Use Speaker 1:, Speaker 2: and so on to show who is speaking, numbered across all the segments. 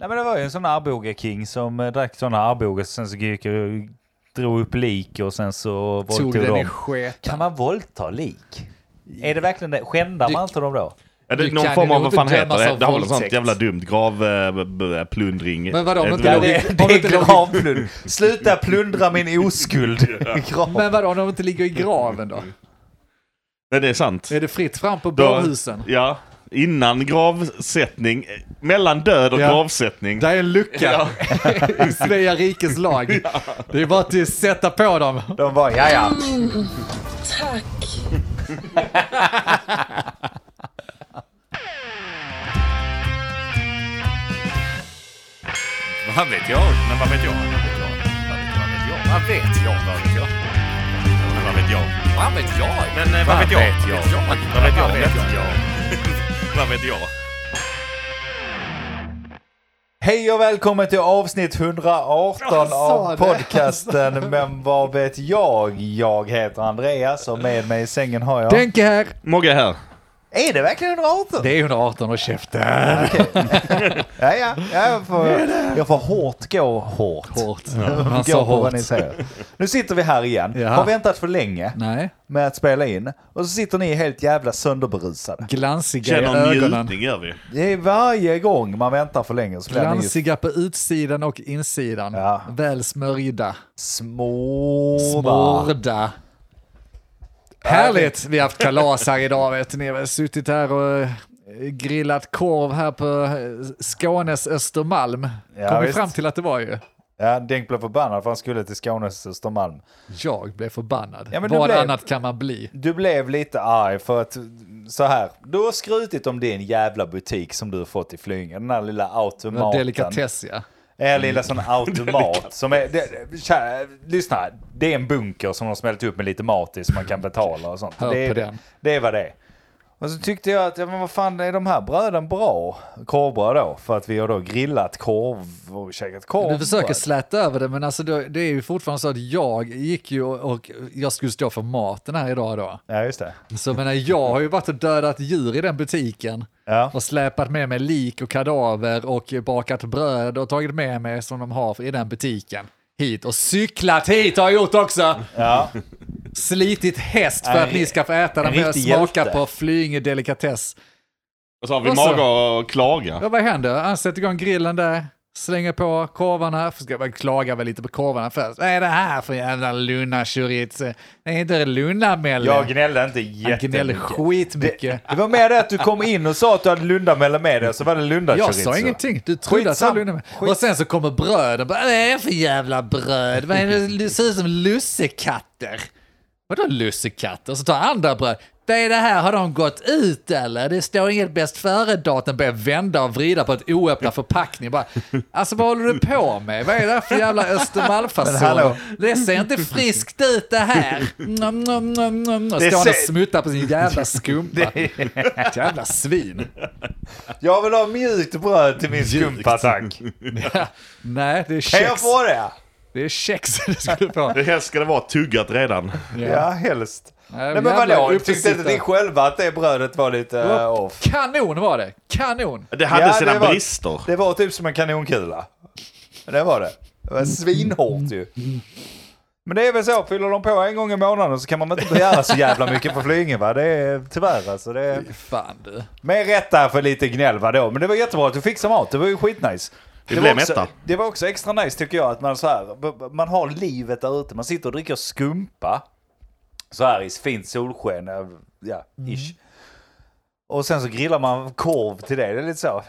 Speaker 1: Nej men det var ju en sån Arboga-king som eh, drack såna Arboga, sen så gick och drog upp lik och sen så
Speaker 2: Tog
Speaker 1: våldtog
Speaker 2: den i
Speaker 1: de.
Speaker 2: sketan.
Speaker 1: Kan man våldta lik? Är det verkligen det? Skändar man inte dem då?
Speaker 3: Är det
Speaker 2: Du
Speaker 3: någon
Speaker 2: kan
Speaker 3: form
Speaker 2: ju
Speaker 3: av,
Speaker 2: nog
Speaker 3: vad
Speaker 2: inte
Speaker 3: fan heter
Speaker 2: dömas
Speaker 3: det?
Speaker 2: av
Speaker 3: Det har väl något sånt
Speaker 2: våldtäkt.
Speaker 3: jävla dumt eh, gravplundring.
Speaker 2: Men vadå, om inte
Speaker 1: Ja,
Speaker 2: låg-
Speaker 1: det,
Speaker 2: om
Speaker 1: det
Speaker 2: det
Speaker 1: är
Speaker 2: inte låg-
Speaker 1: gravplund. Sluta plundra min oskuld. Grav.
Speaker 2: Men vadå, om de inte ligger i graven då?
Speaker 3: Nej, det är sant.
Speaker 2: Är det fritt fram på
Speaker 3: Då-
Speaker 2: blåhusen?
Speaker 3: Ja. Innan gravsättning, eh, mellan död och
Speaker 2: Ja.
Speaker 3: gravsättning.
Speaker 2: Där är en lucka i Svea rikes lag. Det är bara att sätta på dem.
Speaker 1: De bara, ja ja.
Speaker 4: Tack.
Speaker 5: Vad vet jag? Men vad vet jag? Vad vet jag? Vad vet jag? Vad vet jag?
Speaker 3: Men Vad
Speaker 5: Vad vet jag? Men
Speaker 3: vet jag?
Speaker 5: eh,
Speaker 3: Vad
Speaker 5: vad vet jag?
Speaker 3: vet jag?
Speaker 5: Vad vet jag?
Speaker 3: Vad vet jag? Vad vet jag?
Speaker 1: Hej och välkommen till avsnitt 118
Speaker 2: sa
Speaker 1: av
Speaker 2: det.
Speaker 1: podcasten Men vad vet jag? Jag heter Andreas och med mig i sängen har jag...
Speaker 2: Denke här.
Speaker 3: Mogge här.
Speaker 1: Är det verkligen 118?
Speaker 2: Det är 118 och käften.
Speaker 1: Ja, ja, ja jag, får, jag får hårt gå hårt.
Speaker 2: Hårt.
Speaker 1: Gå
Speaker 2: Han
Speaker 1: på
Speaker 2: sa
Speaker 1: vad
Speaker 2: hårt.
Speaker 1: ni säger. Nu sitter vi här igen.
Speaker 2: Ja.
Speaker 1: Har väntat för länge
Speaker 2: Nej.
Speaker 1: med att spela in. Och så sitter ni helt jävla sönderberusade.
Speaker 2: Glansiga i
Speaker 3: Känner
Speaker 2: ögonen.
Speaker 3: njutning gör vi.
Speaker 1: Det är varje gång man väntar för länge så blir ni ju
Speaker 2: Glansiga på utsidan och insidan.
Speaker 1: Ja.
Speaker 2: Väl smörjda.
Speaker 1: smårda.
Speaker 2: Smorda. Härligt! Vi har haft kalas här idag vet ni. Vi har suttit här och eh, grillat korv här på eh, Skånes Östermalm.
Speaker 1: Ja,
Speaker 2: Kom vi
Speaker 1: visst.
Speaker 2: fram till att det var ju.
Speaker 1: Ja, Denk blev förbannad för han skulle till Skånes Östermalm.
Speaker 2: Jag blev förbannad.
Speaker 1: Ja, men du
Speaker 2: Vad
Speaker 1: blev-
Speaker 2: annat kan man bli?
Speaker 1: Du blev lite arg för att så här. Du har skrutit om din jävla butik som du har fått i Flyinge. Den här lilla
Speaker 2: Den här
Speaker 1: automaten.
Speaker 2: Delikatess ja.
Speaker 1: En Eh, lilla sån
Speaker 2: Mm.
Speaker 1: automat som är... Det, kära, lyssna, här. det är en bunker som de smält upp med lite mat i som man kan betala och sånt.
Speaker 2: Hör
Speaker 1: det, är-
Speaker 2: på den.
Speaker 1: det är vad det är. Och så tyckte jag att, ja, men vad fan är de här bröden bra? Korvbröd då, för att vi har då grillat korv och käkat korv.
Speaker 2: Du försöker släta över det, men alltså det, det är ju fortfarande så att jag gick ju och, och jag skulle stå för maten här idag då.
Speaker 1: Ja, just det.
Speaker 2: Så jag menar, jag har ju varit och dödat djur i den butiken.
Speaker 1: Ja.
Speaker 2: Och släpat med mig lik och kadaver och bakat bröd och tagit med mig som de har i den butiken hit. Och cyklat hit har jag gjort också!
Speaker 1: Ja.
Speaker 2: Slitit häst för
Speaker 1: En
Speaker 2: att ni ska få äta
Speaker 1: en
Speaker 2: den och
Speaker 1: riktig
Speaker 2: smaka
Speaker 1: hjälte.
Speaker 2: på Flyinge delikatess.
Speaker 3: Och så har vi
Speaker 2: Och så-
Speaker 3: mage och klaga.
Speaker 2: Ja, vad händer? Han sätter igång grillen där, slänger på korvarna, för ska jag klaga väl lite på korvarna först. Vad är det här för jävla lunna chorizo? Det är inte lunnamälle.
Speaker 1: Jag gnällde inte
Speaker 2: Han gnällde
Speaker 1: jättemycket.
Speaker 2: skitmycket.
Speaker 1: Det var mer det att du kom in och sa att du hade lundamelle med dig, och så var det lundachorizo.
Speaker 2: Jag sa ingenting, du trodde att det var
Speaker 1: Skitsam-
Speaker 2: lundamälle.
Speaker 1: skit-
Speaker 2: Och sen så kommer bröden, bara, vad är det för jävla bröd? Vad är det? det ser ut som lussekatter. Vadå lussekatter? Och så tar jag andra bröd. Det är det här, har de gått ut eller? Det står inget bäst före-datum. Börjar vända och vrida på ett oöppnad förpackning. Bara, alltså vad håller du på med? Vad är det här för jävla
Speaker 1: Men hallå.
Speaker 2: Östermalmsfason? Det ser inte friskt ut det här. Nom, nom, nom, nom. Och
Speaker 1: Det
Speaker 2: Står han och
Speaker 1: ser-
Speaker 2: smuttar på sin jävla skumpa. Jävla svin.
Speaker 1: Jag vill ha mjukt bröd till min skumpa, tack.
Speaker 2: Nej, det är
Speaker 1: Kan jag
Speaker 2: kex.
Speaker 1: få det?
Speaker 2: Det är kex du skulle få.
Speaker 3: Det helst ska det vara tuggat redan.
Speaker 1: Ja, helst. Nej, men
Speaker 2: jävlar,
Speaker 1: vadå,
Speaker 2: upp och
Speaker 1: tyckte inte
Speaker 2: sitta.
Speaker 1: ni själva att det brödet var lite eh, off?
Speaker 2: Kanon var det! Kanon!
Speaker 3: Det hade
Speaker 1: Ja,
Speaker 3: sina
Speaker 1: det var-
Speaker 3: brister.
Speaker 1: Det var typ som en kanonkula. Det var det. Det var svinhårt ju. Men det är väl så, fyller de på en gång i månaden så kan man inte begära så jävla mycket på Flyinge va? Det är tyvärr alltså. Det är...
Speaker 2: Fan du.
Speaker 1: Med rätta för lite gnäll vadå? Men det var jättebra att du fixade mat, det var ju skitnice.
Speaker 3: Vi
Speaker 1: det,
Speaker 3: blev
Speaker 1: var också,
Speaker 3: mätta.
Speaker 1: det var också extra nice tycker jag att man så här, b- b- man har livet där ute. Man sitter och dricker skumpa så här i fint solsken, eh, ja,
Speaker 2: Mm.
Speaker 1: ish. Och sen så grillar man korv till det, det är lite så.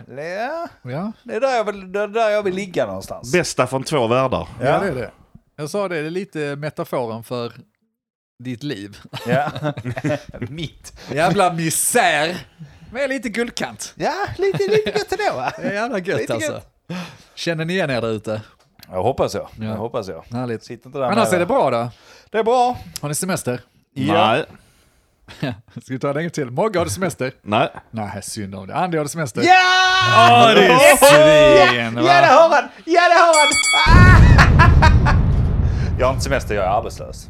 Speaker 1: Ja,
Speaker 2: Ja,
Speaker 1: det är där jag vill, det är där jag vill ligga någonstans.
Speaker 3: Bästa från två världar.
Speaker 2: ja. det är det. Jag sa det, det är lite metaforen för ditt liv.
Speaker 1: Ja. Mitt.
Speaker 2: Jävla misär! Med lite guldkant.
Speaker 1: Ja, lite, lite gött ändå va?
Speaker 2: Det är jävla gött
Speaker 1: Lite
Speaker 2: alltså.
Speaker 1: gött.
Speaker 2: Känner ni igen er där ute?
Speaker 1: Jag hoppas jag.
Speaker 2: Ja.
Speaker 1: Jag hoppas jag.
Speaker 2: Härligt.
Speaker 1: Sitter inte där
Speaker 2: Annars
Speaker 1: nere.
Speaker 2: är det bra då.
Speaker 1: Det är bra.
Speaker 2: Har ni semester?
Speaker 1: Ja.
Speaker 3: Nej.
Speaker 2: Ska vi ta det en gång till? Mogge, har du semester?
Speaker 3: Nej.
Speaker 2: Nej, synd om det. Andy, har du semester?
Speaker 1: Ja!
Speaker 2: Ja, det är svin, va?
Speaker 1: Ja det har han! Ja det har han! Jag har inte semester, jag är arbetslös.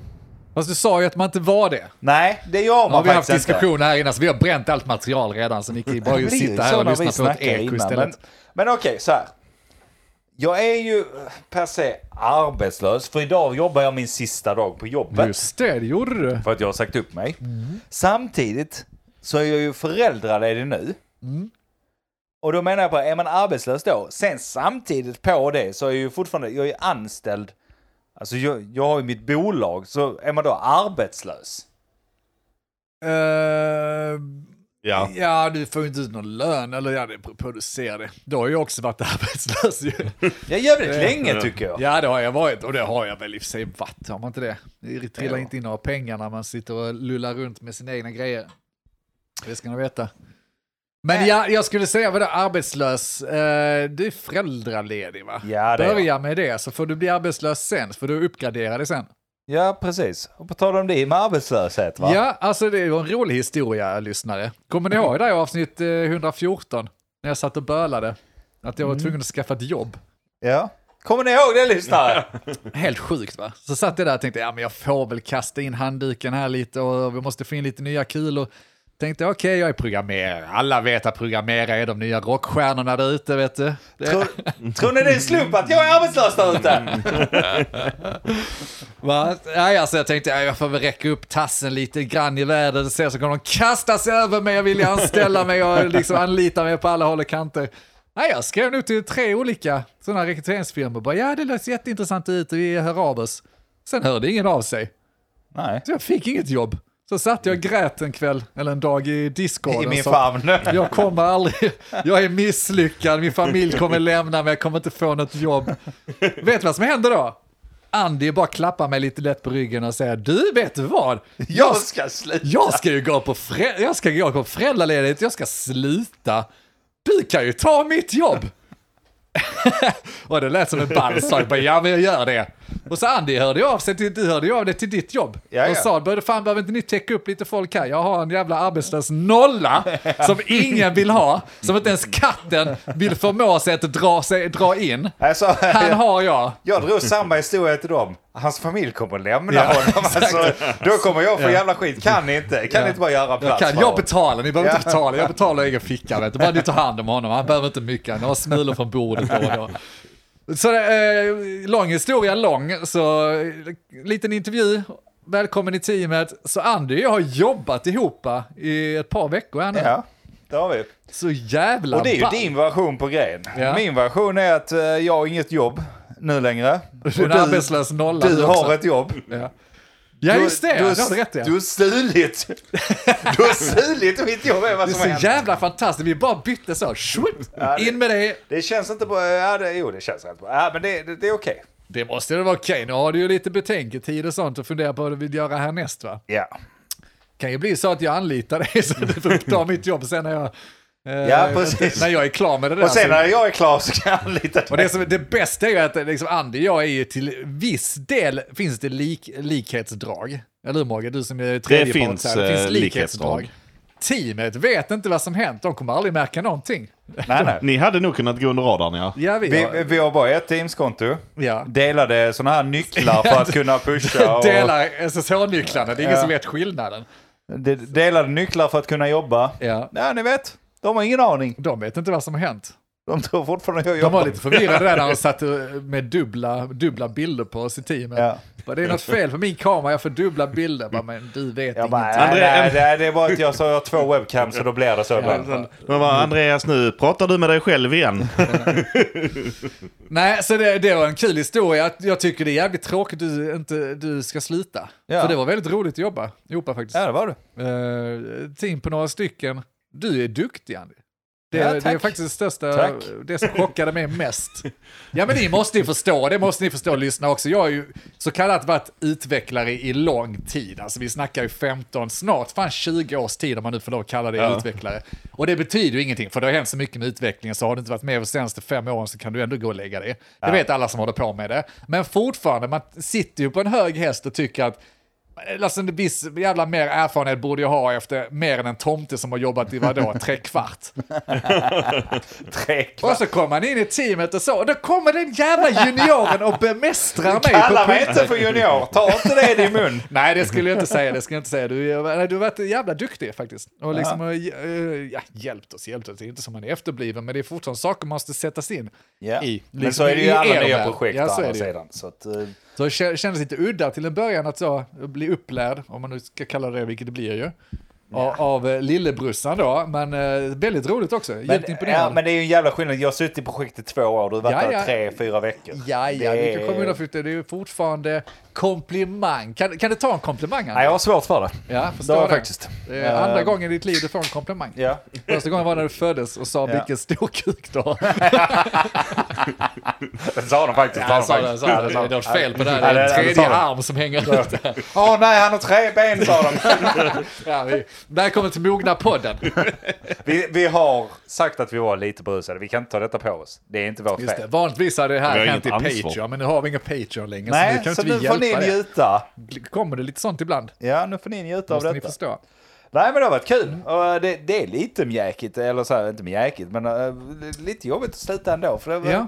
Speaker 2: Fast du sa ju att man inte var det.
Speaker 1: Nej, det gör man
Speaker 2: Ja, vi har haft
Speaker 1: faktiskt inte.
Speaker 2: diskussioner här innan, så vi har bränt allt material redan, så ni kan ju bara
Speaker 1: Det
Speaker 2: ju
Speaker 1: blir ju
Speaker 2: sitta
Speaker 1: så
Speaker 2: här och
Speaker 1: när vi
Speaker 2: lyssna på ett
Speaker 1: snackar
Speaker 2: eko
Speaker 1: innan,
Speaker 2: istället.
Speaker 1: men Men okej, så här. Jag är ju eh, per se arbetslös, för idag jobbar jag min sista dag på jobbet.
Speaker 6: Just det, det gjorde du.
Speaker 1: För att jag har sagt upp mig. Samtidigt så är jag ju föräldraledig nu. Och då menar jag på, är man arbetslös då? Sen samtidigt på det så är jag ju fortfarande, jag är ju anställd. Alltså jag, jag har ju mitt bolag, så är man då arbetslös?
Speaker 3: Ja.
Speaker 2: Eh, ja, du får ju inte ut någon lön, eller ja, det beror på hur du ser det. Då har jag också varit arbetslös ju.
Speaker 1: Ja, jävligt länge tycker jag.
Speaker 2: Ja, det har jag varit och det har jag väl i och för sig varit. Har man inte det? Det trillar inte in några pengar när man sitter och lullar runt med sina egna grejer. Det ska ni veta. Men ja, jag skulle säga, vadå arbetslös? Eh, du är föräldraledig va?
Speaker 1: Ja, det är jag.
Speaker 2: Börja med det så får du bli arbetslös sen, så får du uppgradera dig sen.
Speaker 1: Ja, precis. Och på tal om det med arbetslöshet va?
Speaker 2: Ja, alltså det var en rolig historia, lyssnare. Kommer ni ihåg det här avsnitt eh, 114? När jag satt och bölade. Att jag var tvungen att skaffa ett jobb.
Speaker 1: ja. Kommer ni ihåg det lyssnare?
Speaker 2: Helt sjukt va? Så satt jag där och tänkte, ja men jag får väl kasta in handduken här lite och vi måste få in lite nya kulor. Tänkte okej, jag är programmerare. Alla vet att programmerare är de nya rockstjärnorna där ute, vet du. Det,
Speaker 1: tror, tror ni det är en slump att jag är arbetslös där ute?
Speaker 2: va? Nej, alltså jag tänkte, ja, jag får väl räcka upp tassen lite grann i världen och se så kommer de kasta sig över mig och vilja anställa mig och liksom anlita mig på alla håll och kanter. Nej, jag skrev nog till tre olika sådana rekryteringsfirmor. Bara, ja, det låter jätteintressant ut och vi hör av oss. Sen hörde ingen av sig.
Speaker 1: Nej.
Speaker 2: Så jag fick inget jobb. Så satt jag och grät en kväll, eller en dag i Discord.
Speaker 1: I min famn.
Speaker 2: Jag kommer aldrig, jag är misslyckad, min familj kommer lämna mig, jag kommer inte få något jobb. Vet du vad som hände då? Andy bara klappar mig lite lätt på ryggen och säger, du vet du vad?
Speaker 1: Jag ska sluta.
Speaker 2: Jag ska ju gå på, frä- jag ska gå på föräldraledighet, jag ska sluta. Du kan ju ta mitt jobb! och det lät som en ball sak, bara, ja men jag gör det. Och så Andy hörde ju av sig, till, du hörde ju av dig till ditt jobb.
Speaker 1: Ja, ja.
Speaker 2: Och sa, "Bör- fan behöver inte ni täcka upp lite folk här? Jag har en jävla arbetslös nolla som ingen vill ha, som inte ens katten vill förmå sig att dra, sig, dra in.
Speaker 1: Alltså,
Speaker 2: Han har jag.
Speaker 1: Jag drog samma historia till dem. Hans familj kommer att lämna honom. Alltså, då kommer jag få jävla skit. Kan ni inte? Kan ni inte bara göra
Speaker 2: Jag
Speaker 1: plats
Speaker 2: kan,
Speaker 1: för
Speaker 2: jag
Speaker 1: honom?
Speaker 2: betalar, ni behöver inte
Speaker 1: Ja.
Speaker 2: betala, jag betalar egen ficka vet du. Bara ni tar hand om honom, han behöver inte mycket, han har smulor från bordet då och då. Så eh, lång historia lång, så eh, liten intervju, välkommen i teamet. Så Andy och jag har jobbat ihop va, i ett par veckor här nu.
Speaker 1: Ja, det har vi.
Speaker 2: Så jävla
Speaker 1: Och det är ju
Speaker 2: ball.
Speaker 1: din version på grejen.
Speaker 2: Ja.
Speaker 1: Min version är att eh, jag har inget jobb nu längre. Och
Speaker 2: Du är en arbetslös nolla
Speaker 1: du
Speaker 2: också.
Speaker 1: har ett jobb.
Speaker 2: Ja. Ja just det, du,
Speaker 1: har-
Speaker 2: du har rätt ja.
Speaker 1: Du har stulit. Du har stulit mitt jobb är vad
Speaker 2: det
Speaker 1: som har
Speaker 2: är
Speaker 1: hänt.
Speaker 2: så jävla fantastiskt, vi bara bytte så, Shwip, in med det,
Speaker 1: Det känns inte bra. Ja, det, jo, det känns rätt bra. Ja, men det, det, det är okej.
Speaker 2: Det måste väl vara okej, nu har du ju lite betänketid och sånt och fundera på vad du vill göra härnäst va?
Speaker 1: Ja.
Speaker 2: Kan ju bli så att jag anlitar dig så du får ta mitt jobb sen när jag, eh,
Speaker 1: Ja, precis.
Speaker 2: när jag är klar med det där.
Speaker 1: Och sen
Speaker 2: så-
Speaker 1: när jag är klar så kan jag anlita
Speaker 2: Alltså- och det, som, det bästa är ju att liksom, Andy och jag är ju till viss del, finns det lik, likhetsdrag? Eller hur Morgan? Du som är tredje part
Speaker 3: finns,
Speaker 2: här, det
Speaker 3: eh,
Speaker 2: finns likhetsdrag.
Speaker 3: likhetsdrag.
Speaker 2: Teamet vet inte vad som hänt, de kommer aldrig märka någonting.
Speaker 1: Nej, nej.
Speaker 3: Ni hade nog kunnat gå under radarn ja.
Speaker 2: Ja, vi,
Speaker 1: Vi, vi har bara ett Teams-konto.
Speaker 2: ja.
Speaker 1: Delade sådana här nycklar för att kunna pusha. Och
Speaker 2: Delar SSH-nycklarna, det är ingen
Speaker 1: Ja.
Speaker 2: som vet skillnaden.
Speaker 1: de- delade nycklar för att kunna jobba.
Speaker 2: Ja.
Speaker 1: Nej, ni vet. De har ingen aning.
Speaker 2: De vet inte vad som har hänt.
Speaker 1: De tror fortfarande jag
Speaker 2: De
Speaker 1: jobbar.
Speaker 2: var lite förvirrade där när de satt eh, med dubbla, dubbla bilder på oss i teamet.
Speaker 1: Ja.
Speaker 2: Bara, Det är något fel på min kamera, jag får dubbla bilder. Bara, men du vet
Speaker 1: Jag
Speaker 2: ingenting.
Speaker 1: bara, nej,
Speaker 3: André,
Speaker 1: nej,
Speaker 3: en-
Speaker 1: nej, det är bara att jag sa jag har två webcams så då blir det så ibland.
Speaker 3: Men vad, Andreas nu, pratar du med dig själv igen?
Speaker 2: Nej, så det, det var en kul historia. Jag- Jag tycker det är jävligt tråkigt att du, inte, du ska sluta.
Speaker 1: Ja.
Speaker 2: För det var väldigt roligt att jobba ihop faktiskt.
Speaker 1: Ja, det var du.
Speaker 2: Eh, team på några stycken. Du är duktig Andy. Det,
Speaker 1: Ja,
Speaker 2: det
Speaker 1: tack.
Speaker 2: är faktiskt det största,
Speaker 1: Tack.
Speaker 2: det som chockade mig mest. Ja men ni måste ju förstå, det måste ni förstå lyssna också. Jag har ju så kallat varit utvecklare i lång tid. Alltså vi snackar ju 15, snart fan 20 års tid om man nu får lov att kalla det utvecklare. Och det betyder ju ingenting, för det har hänt så mycket med utvecklingen så har du inte varit med de senaste fem åren så kan du ändå gå och lägga dig. Det vet alla som håller på med det. Men fortfarande, man sitter ju på en hög häst och tycker att Alltså en viss jävla mer erfarenhet borde jag ha efter mer än en tomte som har jobbat i vadå, tre kvart.
Speaker 1: Tre
Speaker 2: Och så kommer han in i teamet och så, och då kommer den jävla junioren och bemästrar mig.
Speaker 1: Kalla
Speaker 2: på
Speaker 1: mig
Speaker 2: punkt-
Speaker 1: inte för junior, ta inte det i din mun.
Speaker 2: Nej, det skulle jag inte säga. Det skulle jag inte säga. Du, är- nej, du har varit jävla duktig faktiskt. Och liksom, har, eh, ja, hjälpt oss, hjälpt oss. Det är inte som man är efterbliven, men det är fortfarande saker man måste sätta in
Speaker 1: Ja.
Speaker 2: i. Liksom,
Speaker 1: Men så är det ju i
Speaker 2: i
Speaker 1: alla
Speaker 2: er
Speaker 1: nya
Speaker 2: värld.
Speaker 1: projekt
Speaker 2: Ja,
Speaker 1: å
Speaker 2: så är
Speaker 1: andra
Speaker 2: det ju.
Speaker 1: sidan. Så att, eh,
Speaker 2: Så det kä- kändes lite udda till en början att så bli upplärd, om man nu ska kalla det vilket det blir ju, av, av eh, lillebrorsan då. Men eh, väldigt roligt också,
Speaker 1: men,
Speaker 2: djupt
Speaker 1: ja,
Speaker 2: imponerad.
Speaker 1: men det är ju en jävla skillnad. Jag har suttit i projektet i två år, du har varit
Speaker 2: Ja,
Speaker 1: där
Speaker 2: ja.
Speaker 1: tre, fyra veckor.
Speaker 2: Ja, ja,
Speaker 1: Det
Speaker 2: vi kan komma undan för det. Det är ju fortfarande komplimang. Kan, kan du ta en komplimang? Anders?
Speaker 1: Nej, jag har svårt för det.
Speaker 2: Ja, förstår
Speaker 1: Det har
Speaker 2: det.
Speaker 1: jag faktiskt.
Speaker 2: Det är andra
Speaker 1: Eh,
Speaker 2: gången i ditt liv du får en komplimang.
Speaker 1: Ja.
Speaker 2: Första gången var när du föddes och sa
Speaker 1: Ja.
Speaker 2: vilken stor kuk du har.
Speaker 1: Det sa de faktiskt.
Speaker 2: Han sa det, sa det, det är något fel på det här. Det är en tredje arm som hänger ut där.
Speaker 1: Åh Ah, nej, han har tre ben sa de.
Speaker 2: Ja, vi, välkommen till Mogna podden.
Speaker 1: Vi, vi har sagt att vi var lite berusade. Vi kan inte ta detta på oss. Det är inte vårt
Speaker 2: Just det.
Speaker 1: fel.
Speaker 2: Vanligtvis hade det här
Speaker 3: Vi har
Speaker 2: hänt i
Speaker 3: inget ansvar.
Speaker 2: Patreon, men nu har vi ingen Patreon längre.
Speaker 1: Nej,
Speaker 2: så Alltså, nu
Speaker 1: så
Speaker 2: kan inte
Speaker 1: nu
Speaker 2: vi
Speaker 1: får ni
Speaker 2: hjälpa det.
Speaker 1: njuta.
Speaker 2: Kommer det lite sånt ibland?
Speaker 1: Ja, nu får ni njuta av
Speaker 2: Måste ni
Speaker 1: detta.
Speaker 2: förstå.
Speaker 1: Nej, men det har varit kul. Och eh, det, det är lite mjäkigt, eller så här, inte mjäkigt, men eh, lite jobbigt att sluta ändå. För det var
Speaker 2: Ja.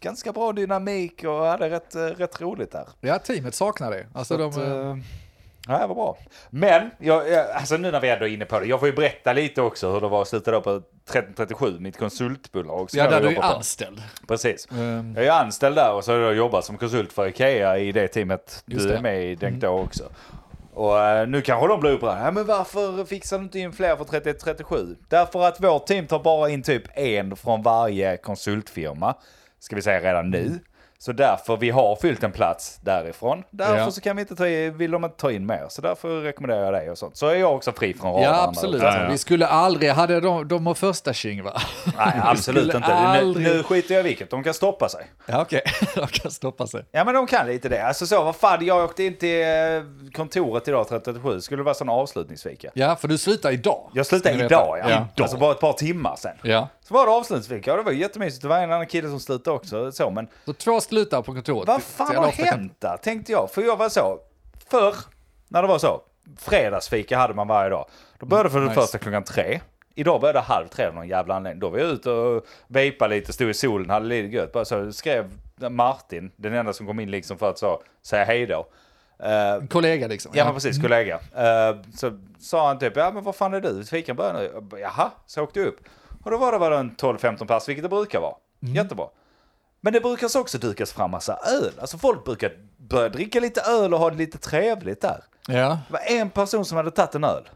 Speaker 1: ganska bra dynamik och hade rätt, eh, rätt roligt där.
Speaker 2: Ja, teamet saknar det. Alltså, de,
Speaker 1: att, eh, Ja, det var bra. Men, jag, jag, alltså nu när vi ändå är inne på det, jag får ju berätta lite också hur det var att sluta då på 1337, mitt konsultbolag. som
Speaker 2: ja,
Speaker 1: jag
Speaker 2: där du är
Speaker 1: jobbar på. Eh,
Speaker 2: anställd.
Speaker 1: Precis.
Speaker 2: Ehm.
Speaker 1: Mm. Jag är anställd där och så har jag jobbat som konsult för Ikea i det teamet
Speaker 2: Just
Speaker 1: du
Speaker 2: det. Mm.
Speaker 1: är med i Denk då också. Och eh, nu kanske de blir upprörda. Ja, men varför fixar du inte in fler för 31-37? Därför att vårt team tar bara in typ en från varje konsultfirma. Ska vi säga redan
Speaker 2: Mm.
Speaker 1: nu. Så därför vi har fyllt en plats därifrån. Därför
Speaker 2: Ja.
Speaker 1: så kan vi inte ta i, vill de inte ta in mer. Så därför rekommenderar jag dig och sånt. Så är jag också fri från radarn.
Speaker 2: Ja,
Speaker 1: där
Speaker 2: absolut.
Speaker 1: uppe.
Speaker 3: Ja, ja.
Speaker 2: Vi skulle aldrig, hade de, de har första tjing va?
Speaker 1: Nej, absolut
Speaker 2: skulle
Speaker 1: inte. Nu,
Speaker 2: aldrig-
Speaker 1: nu skiter jag i vilket. De kan stoppa sig.
Speaker 2: Ja, okej. De kan stoppa sig.
Speaker 1: Ja men de kan lite det. Alltså så, vad fan, jag åkte in till eh, kontoret idag 37. Skulle det vara sån avslutningsfika?
Speaker 2: Ja, för du slutar idag.
Speaker 1: Jag slutade
Speaker 2: Ska ni veta.
Speaker 1: idag ja. Alltså bara ett par timmar sen.
Speaker 2: Ja.
Speaker 1: Så var det avslutningsfika och det var ju jättemysigt. Det var en annan kille som slutade också. Så, men
Speaker 2: Så två slutar på kontoret.
Speaker 1: vad
Speaker 2: Det- det
Speaker 1: fan
Speaker 2: är
Speaker 1: har
Speaker 2: ofta-
Speaker 1: hänt där? Tänkte jag. För jag var så, förr när det var så, fredagsfika hade man varje dag. Då började för det
Speaker 2: nice.
Speaker 1: första klockan tre. Idag började halv tre av någon jävla anledning. Då var jag ute och vejpade lite, stod i solen, hade lite gött. Bara så skrev Martin, den enda som kom in liksom för att så, säga hej då. Eh,
Speaker 2: En kollega liksom.
Speaker 1: Ja men precis, kollega. Eh, så sa han typ, ja men vad fan är du? Fikan börjar nu. Jag bara, Jaha, så åkte jag upp. Och då var det bara en 12-15 pers, vilket det brukar vara. Jättebra. Men det brukar så också dukas fram massa öl. Alltså folk brukar börja dricka lite öl och ha det lite trevligt där.
Speaker 2: ja.
Speaker 1: Det var en person som hade tagit en öl.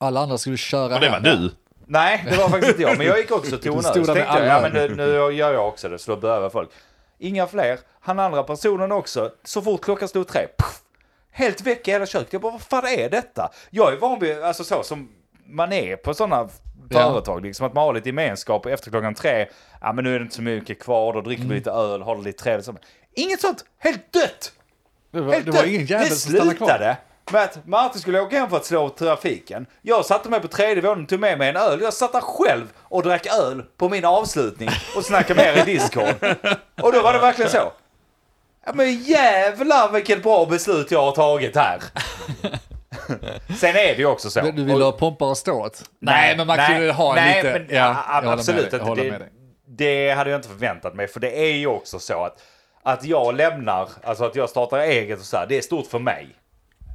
Speaker 2: Alla andra skulle köra
Speaker 3: Och det var
Speaker 2: hem.
Speaker 3: du.
Speaker 1: Nej, det var faktiskt inte jag, men jag gick också till en öl.
Speaker 2: stod
Speaker 1: Så
Speaker 2: där med
Speaker 1: tänkte jag, ja
Speaker 2: alla
Speaker 1: men nu, nu gör jag också det, så då behöver folk. Inga fler. Han andra personen också, så fort klockan slog tre, puff, helt väck i hela köket. Jag bara, vad fan är detta? Jag är van vid, alltså så som man är på sådana företag, liksom att man har lite gemenskap och efter klockan tre, ja men nu är det inte så mycket kvar, då
Speaker 2: Mm.
Speaker 1: dricker vi lite öl, har det lite trevligt. Så- Inget sånt, helt dött!
Speaker 2: Det var,
Speaker 1: Helt
Speaker 2: det var
Speaker 1: dött.
Speaker 2: ingen jävel
Speaker 1: det
Speaker 2: som stannade kvar.
Speaker 1: slutade med att Martin skulle åka hem för att slå trafiken. Jag satte mig på tredje våningen, tog med mig en öl. Jag satt där själv och drack öl på min avslutning och snackade mer i Discord. Och då var det verkligen så. Ja men jävlar vilket bra beslut jag har tagit här. Sen är det ju också så.
Speaker 2: Men Du
Speaker 1: Och-
Speaker 2: ville ha pompa och ståt? Nej, men man kunde ju ha en
Speaker 1: nej,
Speaker 2: lite...
Speaker 1: men a-
Speaker 2: ja,
Speaker 1: a-
Speaker 2: jag håller
Speaker 1: absolut
Speaker 2: med dig,
Speaker 1: inte.
Speaker 2: jag håller
Speaker 1: Det,
Speaker 2: med dig.
Speaker 1: det hade jag inte förväntat mig, för det är ju också så att, att jag lämnar, alltså att jag startar eget och så här, det är stort för mig.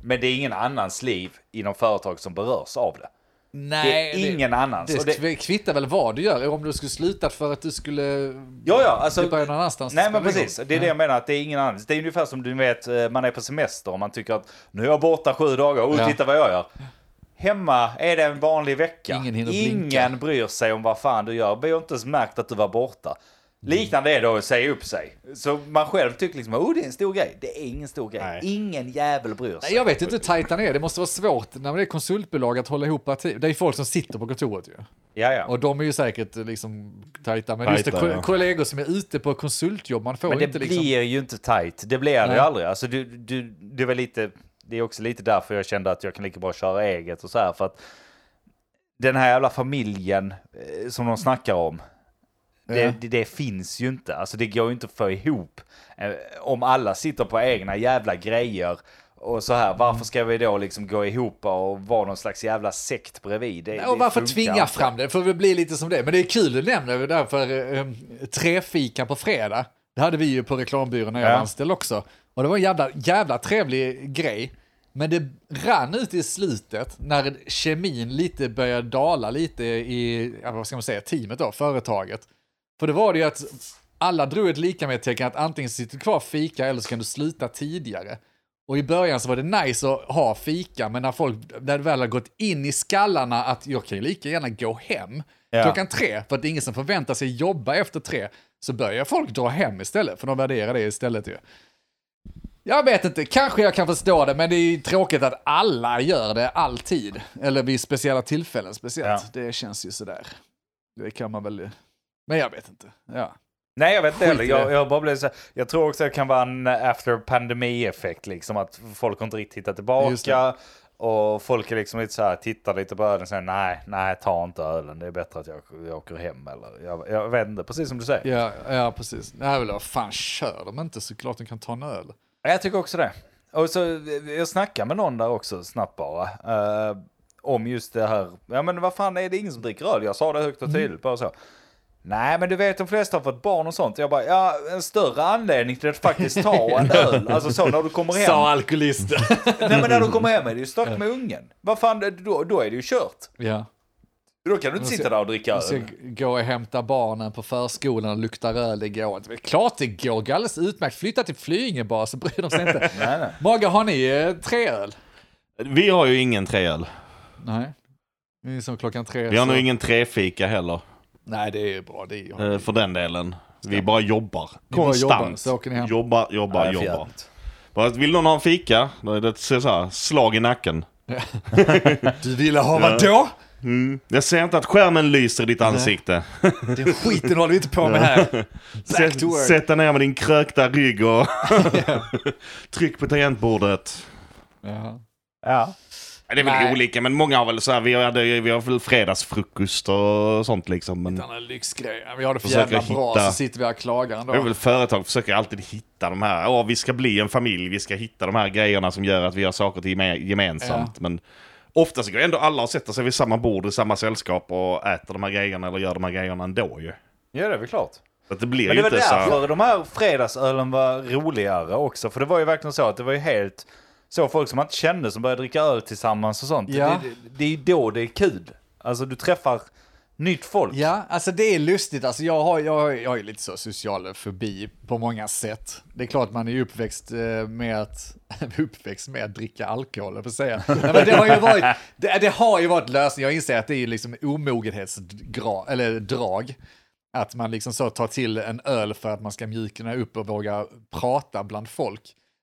Speaker 1: Men det är ingen annans liv inom företag som berörs av det.
Speaker 2: Nej,
Speaker 1: Det är ingen annans.
Speaker 2: Det,
Speaker 1: och
Speaker 2: det kvittar väl vad du gör, om du skulle sluta för att du skulle...
Speaker 1: Ja, ja, alltså-
Speaker 2: Du börjar någon annanstans.
Speaker 1: Nej
Speaker 2: spelar
Speaker 1: men
Speaker 2: ingen
Speaker 1: precis,
Speaker 2: roll.
Speaker 1: det är det jag menar att det är ingen annan. Det är ungefär som du vet, eh, man är på semester och man tycker att nu är jag borta sju dagar, och
Speaker 2: Ja.
Speaker 1: titta vad jag gör. Hemma är det en vanlig vecka.
Speaker 2: Ingen hinner blinka.
Speaker 1: ingen bryr sig om vad fan du gör. Vi har inte ens märkt att du var borta.
Speaker 2: Mm.
Speaker 1: Liknande är då att säga upp sig. Så man själv tycker liksom, oh det är en stor grej. Det är ingen stor grej.
Speaker 3: Nej.
Speaker 1: Ingen jävel bryr
Speaker 2: Nej,
Speaker 1: sig.
Speaker 2: Jag vet inte hur tajta ni är, det måste vara svårt när det är konsultbolag att hålla ihop team. Det är ju folk som sitter på kontoret ju.
Speaker 1: Ja, ja.
Speaker 2: Och de är ju säkert eh, liksom tajta, men just det,
Speaker 3: Tajta,
Speaker 2: ko-
Speaker 3: ja.
Speaker 2: kollegor som är ute på konsultjobb, man får
Speaker 1: Men det
Speaker 2: inte liksom...
Speaker 1: blir ju inte tajt. Det blir det ju
Speaker 2: Nej.
Speaker 1: aldrig. Alltså, du, du, det, var lite, det är också lite därför jag kände att jag kan lika bra köra eget och så här. För att den här jävla familjen eh, som de snackar om.
Speaker 2: Ja.
Speaker 1: Det, det, det finns ju inte. Alltså det går ju inte att få ihop. Eh, om alla sitter på egna jävla grejer Och så här, varför ska vi då liksom gå ihop och vara någon slags jävla sekt bredvid? Det,
Speaker 2: Och
Speaker 1: det
Speaker 2: varför
Speaker 1: funkar
Speaker 2: tvinga
Speaker 1: inte.
Speaker 2: fram det? För vi blir lite som det. Men det är kul du nämner det där för eh, trefika på fredag. Det hade vi ju på reklambyrån när jag
Speaker 1: Ja.
Speaker 2: var anställd också. Och det var en jävla, jävla trevlig grej. Men det rann ut i slutet när kemin lite började dala lite i, ja, vad ska man säga, teamet då, företaget. För det var det ju att alla drog ett lika med tecken att antingen sitter du kvar och fika eller så kan du sluta tidigare. Och i början så var det nice att ha fika, men när folk när det väl har gått in i skallarna att jag kan ju lika gärna gå hem
Speaker 1: Ja.
Speaker 2: klockan tre, för att det är ingen som förväntar sig jobba efter tre, så börjar folk dra hem istället, för de värderar det istället ju. Jag vet inte, kanske jag kan förstå det, men det är ju tråkigt att alla gör det alltid. Eller vid speciella tillfällen speciellt. Det känns ju sådär. Det kan man väl... Men jag vet inte. Ja.
Speaker 1: Nej, jag vet inte heller.
Speaker 2: Skit i det.
Speaker 1: Jag, jag, bara blev så här, jag tror också att det kan vara en eh, after pandemi-effekt, liksom att folk har inte riktigt hittat
Speaker 2: Just
Speaker 1: tillbaka.
Speaker 2: det.
Speaker 1: Och folk är liksom lite så här, tittar lite på ölen och säger nej, nej, ta inte ölen. Det är bättre att jag, jag åker hem eller jag, jag vet inte, precis som du säger.
Speaker 2: Ja, ja precis. Nej, väl, vad fan kör de inte såklart de kan ta en öl.
Speaker 1: Jag tycker också det. Och så, jag snackade med någon där också snabbt bara. eh, om just det här. Ja men vad fan är det ingen som dricker öl? Jag sa det högt och tydligt bara så. Nej men du vet de flesta har fått barn och sånt. Jag bara ja en större anledning till att faktiskt ta en öl. Alltså så när du kommer hem.
Speaker 2: alkoholisten.
Speaker 1: Nej men när du kommer hem är det ju stört med ungen. Vad fan då, då är det ju kört.
Speaker 2: ja.
Speaker 1: Då kan du inte sitta där och dricka
Speaker 2: Jag ska
Speaker 1: öl.
Speaker 2: g- gå och hämta barnen på förskolan och lukta öl, det går inte. Men Klart det går, går alldeles utmärkt. Flytta till Flyinge bara så bryr de sig inte.
Speaker 1: Nej, nej.
Speaker 2: Maga, har ni eh, tre öl?
Speaker 3: Vi har ju ingen treöl.
Speaker 2: Nej. Det är som klockan tre.
Speaker 3: Vi har
Speaker 2: så-
Speaker 3: nog ingen trefika heller,
Speaker 2: Nej, det är ju bra. Det är ju...
Speaker 3: eh, för den delen. Vi bara jobbar.
Speaker 2: bara
Speaker 3: Konstant.
Speaker 2: jobbar, så åker ni hem.
Speaker 3: Jobbar, jobbar,
Speaker 1: Nej, för
Speaker 3: jobbar.
Speaker 1: jävligt.
Speaker 3: Bara, Vill någon ha en fika? Då är det ett så här, slag i nacken.
Speaker 2: Du ville ha vadå?
Speaker 3: Jag ser inte att skärmen lyser i ditt ansikte.
Speaker 2: Den skiten håller vi inte på med här. Back
Speaker 3: Sätt,
Speaker 2: to work.
Speaker 3: sätt dig ner med din krökta rygg och tryck på tangentbordet.
Speaker 2: Ja.
Speaker 1: Ja.
Speaker 3: Det är väl
Speaker 2: Nej.
Speaker 3: olika, men många har väl så här, vi hade, vi har väl fredagsfrukost och sånt liksom. Men
Speaker 2: Den här lyxgrejen. Vi har det för
Speaker 3: Försöker
Speaker 2: jävla bra
Speaker 3: hitta-
Speaker 2: så sitter vi här och klagar ändå.
Speaker 3: det är väl företag försöker alltid hitta de här, åh vi ska bli en familj, vi ska hitta de här grejerna som gör att vi gör saker till geme- gemensamt. Men ofta så går ändå alla och sätter sig vid samma bord i samma sällskap och äter de här grejerna eller gör de här grejerna ändå ju.
Speaker 1: ja det är väl klart.
Speaker 3: Så att det blir
Speaker 1: Men
Speaker 3: ju
Speaker 1: det var
Speaker 3: inte så här-
Speaker 1: därför de här fredagsölen var roligare också. För det var ju verkligen så att det var ju helt så folk som man inte kände som började dricka öl tillsammans och sånt.
Speaker 2: Ja.
Speaker 1: Det, det, det är ju då det är kul. Alltså du träffar nytt folk.
Speaker 2: Ja, alltså det är lustigt. Alltså jag har jag, har- jag har ju lite så social fobi på många sätt. Det är klart man är ju uppväxt eh, med att, uppväxt med att dricka alkohol, höll jag på att säga. Nej, men det, har ju varit, det, det har ju varit lösning. Jag inser att det är ju liksom omogenhetsdrag, eller drag. Att man liksom så tar till en öl för att man ska mjukna upp och våga prata bland folk.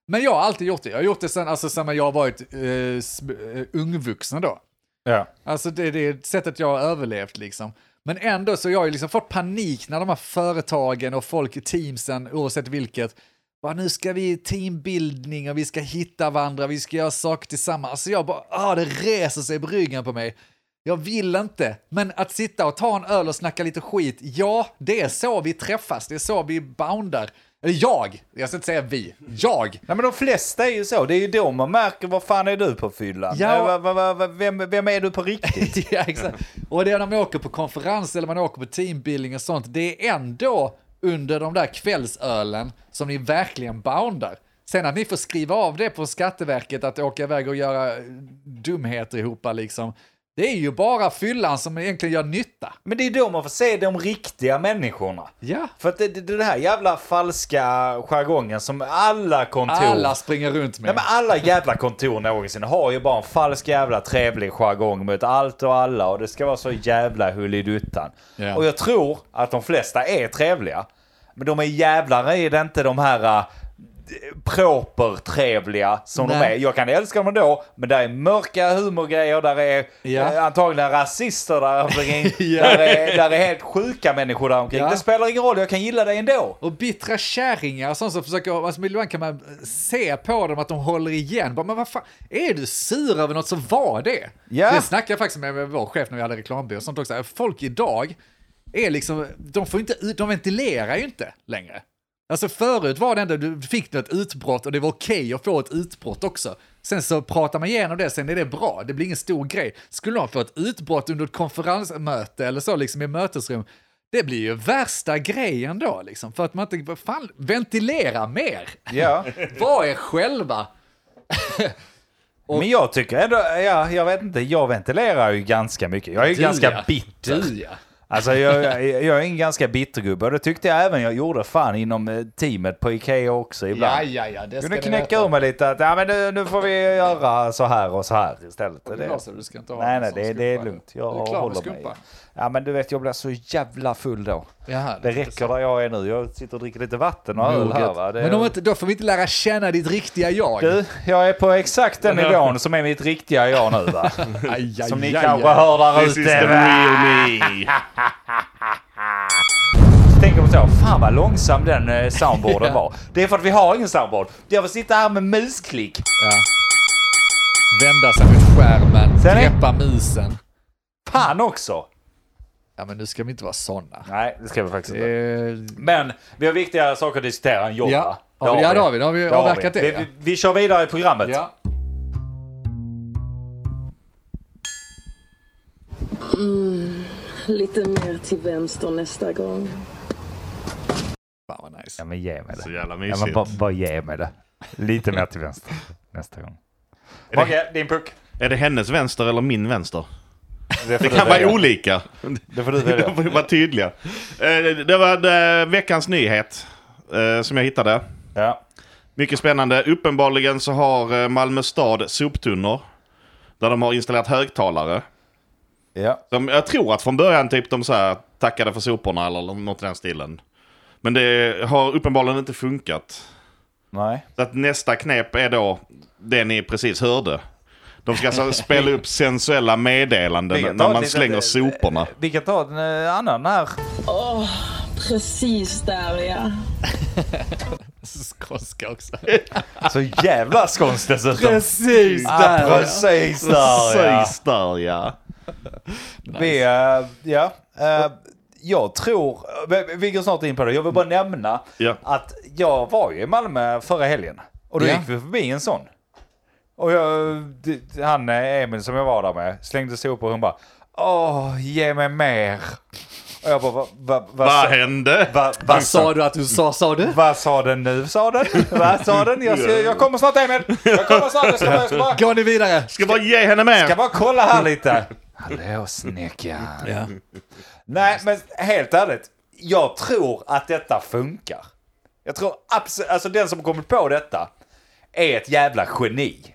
Speaker 2: Men jag har alltid gjort det. Jag har gjort det sen, alltså, sen när jag har varit eh, sm- eh, ungvuxen då.
Speaker 1: Ja.
Speaker 2: Alltså det, det är sättet jag har överlevt liksom. Men ändå så jag har ju liksom fått panik när de här företagen och folk i teamsen, oavsett vilket, bara nu ska vi i teambildning och vi ska hitta varandra, vi ska göra saker tillsammans. Alltså jag bara, ah, det reser sig på ryggen på mig. Jag vill inte, men att sitta och ta en öl och snacka lite skit, ja, det är så vi träffas, det är så vi boundar. Eller jag, jag ska inte säga vi, jag.
Speaker 1: Nej men de flesta är ju så. Det är ju då man märker vad fan är du på fyllan?
Speaker 2: Ja.
Speaker 1: Eh, vad- vad- vad- vad- vem, vem är du på riktigt?
Speaker 2: ja, exakt. Och det är när man åker på konferens eller man åker på teambuilding och sånt, det är ändå under de där kvällsölen som ni verkligen boundar. Sen att ni får skriva av det på Skatteverket att åka iväg och göra dumheter ihop liksom. Det är ju bara fyllan som egentligen gör nytta.
Speaker 1: Men det är då man får se de riktiga människorna.
Speaker 2: Ja.
Speaker 1: För att det, det, det här jävla falska jargongen som alla kontor
Speaker 2: Alla springer runt
Speaker 1: Nej,
Speaker 2: med.
Speaker 1: men alla jävla kontor någonsin har ju bara en falsk jävla trevlig jargong mot allt och alla och det ska vara så jävla hulliduttan.
Speaker 2: Ja.
Speaker 1: Och jag tror att de flesta är trevliga. Men de är jävlar i det inte de här äh, proper trevliga som de
Speaker 2: Nej.
Speaker 1: är. Jag kan älska dem då, men där är mörka humorgrejer, där är
Speaker 2: Ja.
Speaker 1: eh, antagligen rasister, där, omkring,
Speaker 2: Ja.
Speaker 1: där, är, där är helt sjuka människor där omkring.
Speaker 2: Ja.
Speaker 1: Det spelar ingen roll, jag kan gilla dig ändå.
Speaker 2: Och bittra kärringar och sånt som försöker, alltså ibland kan man se på dem att de håller igen. Bara, men vad fan, är du sur över något så var det.
Speaker 1: Ja.
Speaker 2: Det snackade jag faktiskt med vår chef när vi hade reklambyrå och sånt också. Folk idag är liksom, de får inte, ut- de ventilerar ju inte längre. Alltså förut var det ändå, du fick ett utbrott och det var okej att få ett utbrott också. Sen så pratar man igenom det, sen är det bra. Det blir ingen stor grej. Skulle de få ett utbrott under ett konferensmöte eller så, liksom i mötesrum, det blir ju värsta grejen då, liksom. För att man inte, fan, ventilera mer!
Speaker 1: Ja.
Speaker 2: Var er själva!
Speaker 1: Men jag tycker ändå, ja, jag vet inte, jag ventilerar ju ganska mycket. Jag är ju ganska bitter.
Speaker 2: Du ja.
Speaker 1: Alltså jag, jag, jag är en ganska bittergubbe och det tyckte jag även jag gjorde fan inom eh, teamet på Ikea också ibland.
Speaker 2: Ja, ja, ja, det ska
Speaker 1: kunde
Speaker 2: ni
Speaker 1: knäcka
Speaker 2: veta.
Speaker 1: ur mig lite att ja, men nu, nu får vi göra så här och så här istället.
Speaker 2: Det är så du ska inte ha
Speaker 1: nej,
Speaker 2: någon
Speaker 1: nej, det,
Speaker 2: sån skumpa.
Speaker 1: det är lugnt. Jag
Speaker 2: Du är klar med
Speaker 1: håller mig.
Speaker 2: skumpa.
Speaker 1: Ja, men du vet, jag blir så jävla full då.
Speaker 2: Jaha,
Speaker 1: Det räcker där jag är nu. Jag sitter och dricker lite vatten och öl här. Va?
Speaker 2: Moget.
Speaker 1: Det,
Speaker 2: Men om inte, då får vi inte lära känna ditt riktiga jag.
Speaker 1: Du, jag är på exakt den nivån som är mitt riktiga jag nu va?
Speaker 2: Aj, aj,
Speaker 1: Som ni
Speaker 2: aj, aj.
Speaker 1: kanske hör där
Speaker 3: This is the
Speaker 1: ute. va?
Speaker 3: real me.
Speaker 1: Tänk om så, fan vad långsam den eh, soundboarden var. Det är för att vi har ingen soundboard. Jag får sitta här med musklick.
Speaker 2: Ja. Vända sig mot skärmen,
Speaker 1: Ser ni?
Speaker 2: greppa musen.
Speaker 1: Fan också!
Speaker 2: Ja, men nu ska vi inte vara sådana.
Speaker 1: Nej, det ska vi faktiskt inte.
Speaker 2: Eh,
Speaker 1: Men vi har viktigare saker att diskutera än jobb
Speaker 2: Ja.
Speaker 1: va?
Speaker 2: Ja, ja, det har vi. Då har vi avverkat det,
Speaker 1: Vi,
Speaker 2: ja.
Speaker 1: vi, vi kör vidare i programmet.
Speaker 2: ja.
Speaker 4: Lite mer till vänster nästa gång.
Speaker 2: Fan vad nice.
Speaker 1: Ja, men ge mig det.
Speaker 3: Så jävla
Speaker 1: ja, men
Speaker 3: mysigt.
Speaker 1: bara, bara ge mig det. Lite mer till vänster nästa gång. Okej, din puck.
Speaker 3: Är det hennes vänster eller min vänster?
Speaker 1: Det,
Speaker 3: Det kan vara olika.
Speaker 1: Det får du
Speaker 3: De
Speaker 1: välja.
Speaker 3: får ju vara tydliga. Eh, Det var eh, veckans nyhet eh, som jag hittade.
Speaker 1: Ja.
Speaker 3: Mycket spännande. Uppenbarligen så har eh, Malmö stad soptunnor. Där de har installerat högtalare.
Speaker 1: Ja.
Speaker 3: De, jag tror att från början typ de så här tackade för soporna eller något i den stilen. Men det har uppenbarligen inte funkat.
Speaker 1: Nej.
Speaker 3: Så att nästa knep är då det ni precis hörde. De ska alltså spela upp sensuella
Speaker 1: Vi
Speaker 3: meddelanden
Speaker 1: kan ta
Speaker 3: när
Speaker 1: ett
Speaker 3: man
Speaker 1: litet- eh,
Speaker 3: slänger soporna.
Speaker 1: Vi kan ta en eh, annan här.
Speaker 4: Åh, precis där ja.
Speaker 2: Skånska också.
Speaker 1: Så jävla skånskt dessutom.
Speaker 2: Precis
Speaker 1: Ja, precis där ja.
Speaker 3: Precis där ja.
Speaker 1: Vi, eh, ja. eh, jag tror, vi- vi går snart in på det, jag vill bara nämna
Speaker 3: Ja.
Speaker 1: att jag var ju i Malmö förra helgen och då
Speaker 2: Ja.
Speaker 1: gick vi förbi en sån. Och jag, det- han eh, Emil som jag var där med slängde sopor och hon bara Åh, ge mig mer. Och jag bara, "Va- va- vad
Speaker 3: Vad
Speaker 1: sa-
Speaker 3: hände?
Speaker 1: va-
Speaker 2: Vad
Speaker 1: vad
Speaker 2: sa
Speaker 1: sa
Speaker 2: du att du sa, sa du?
Speaker 1: vad sa den nu sa den? Vad sa den? Jag, ska, jag kommer snart Emil! Jag kommer snart! Jag ska bara, jag ska bara,
Speaker 2: Går ni vidare?
Speaker 3: Ska bara ge henne
Speaker 1: ska
Speaker 3: mer.
Speaker 1: bara kolla här lite. Hallå snäckan.
Speaker 2: Ja.
Speaker 1: Nej, men helt ärligt. Jag tror att detta funkar. Jag tror absolut, alltså den som kommit på detta är ett jävla geni.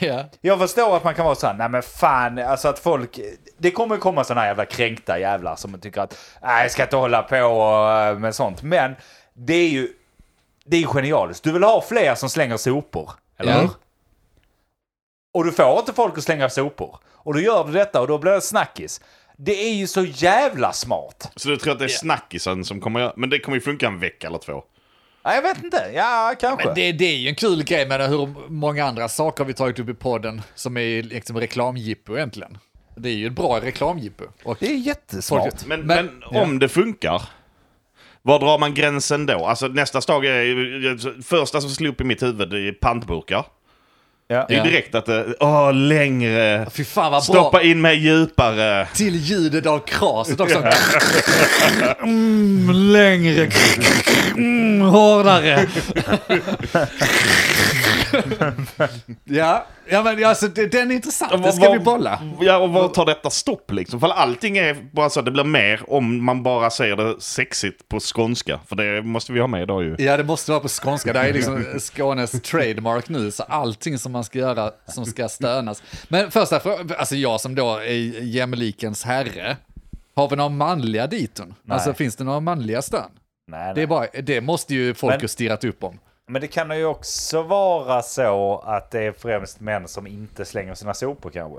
Speaker 2: ja.
Speaker 1: Jag förstår att man kan vara så här, nej men fan, alltså att folk, det kommer ju komma sådana jävla kränkta jävlar som tycker att, nej jag ska inte hålla på och, eh, med sånt. Men det är ju, det är ju genialiskt. Du vill ha fler som slänger sopor, eller
Speaker 2: Ja.
Speaker 1: hur? Och du får inte folk att slänga sopor. Och då gör du detta och då blir det snackis. Det är ju så jävla smart.
Speaker 3: Så du tror att det är snackisen som kommer göra... Men det kommer ju funka en vecka eller två.
Speaker 1: Ja, jag vet inte. Ja, kanske.
Speaker 2: Men det, det är ju en kul grej med hur många andra saker vi tagit upp i podden som är liksom reklamjippo egentligen. Det är ju ett bra reklamjippo. Och
Speaker 1: är jättesmart.
Speaker 2: Folk-
Speaker 3: Men,
Speaker 2: Men-
Speaker 3: men, om det funkar, var drar man gränsen då? Alltså nästa steg är ju- Första som slog upp i mitt huvud är pantburkar.
Speaker 1: Ja.
Speaker 3: Det är ju
Speaker 2: Ja.
Speaker 3: direkt att det... Åh, längre!
Speaker 2: fy fan vad bra.
Speaker 3: Stoppa in mig djupare!
Speaker 2: till ljudet av kraset också. Mm, längre. Mm, hårdare. ja, ja, men alltså det- den är intressant. Den ska
Speaker 3: Var-
Speaker 2: vi bolla.
Speaker 3: Ja, och var tar detta stopp liksom? För allting är bara så att det blir mer om man bara säger det sexigt på skånska. För det måste vi ha med idag ju.
Speaker 2: Ja, det måste vara på skånska. Det här är liksom Skånes trademark nu, så allting som man ska göra som ska stönas. Men första frågan, alltså jag som då är jämlikens herre, har vi några manliga diton? Alltså finns det några manliga stön?
Speaker 1: Nej, nej.
Speaker 2: Det, är bara, det måste ju folk
Speaker 1: Men-
Speaker 2: ha stirrat upp om.
Speaker 1: Men det kan ju också vara så att det är främst män som inte slänger sina sopor kanske.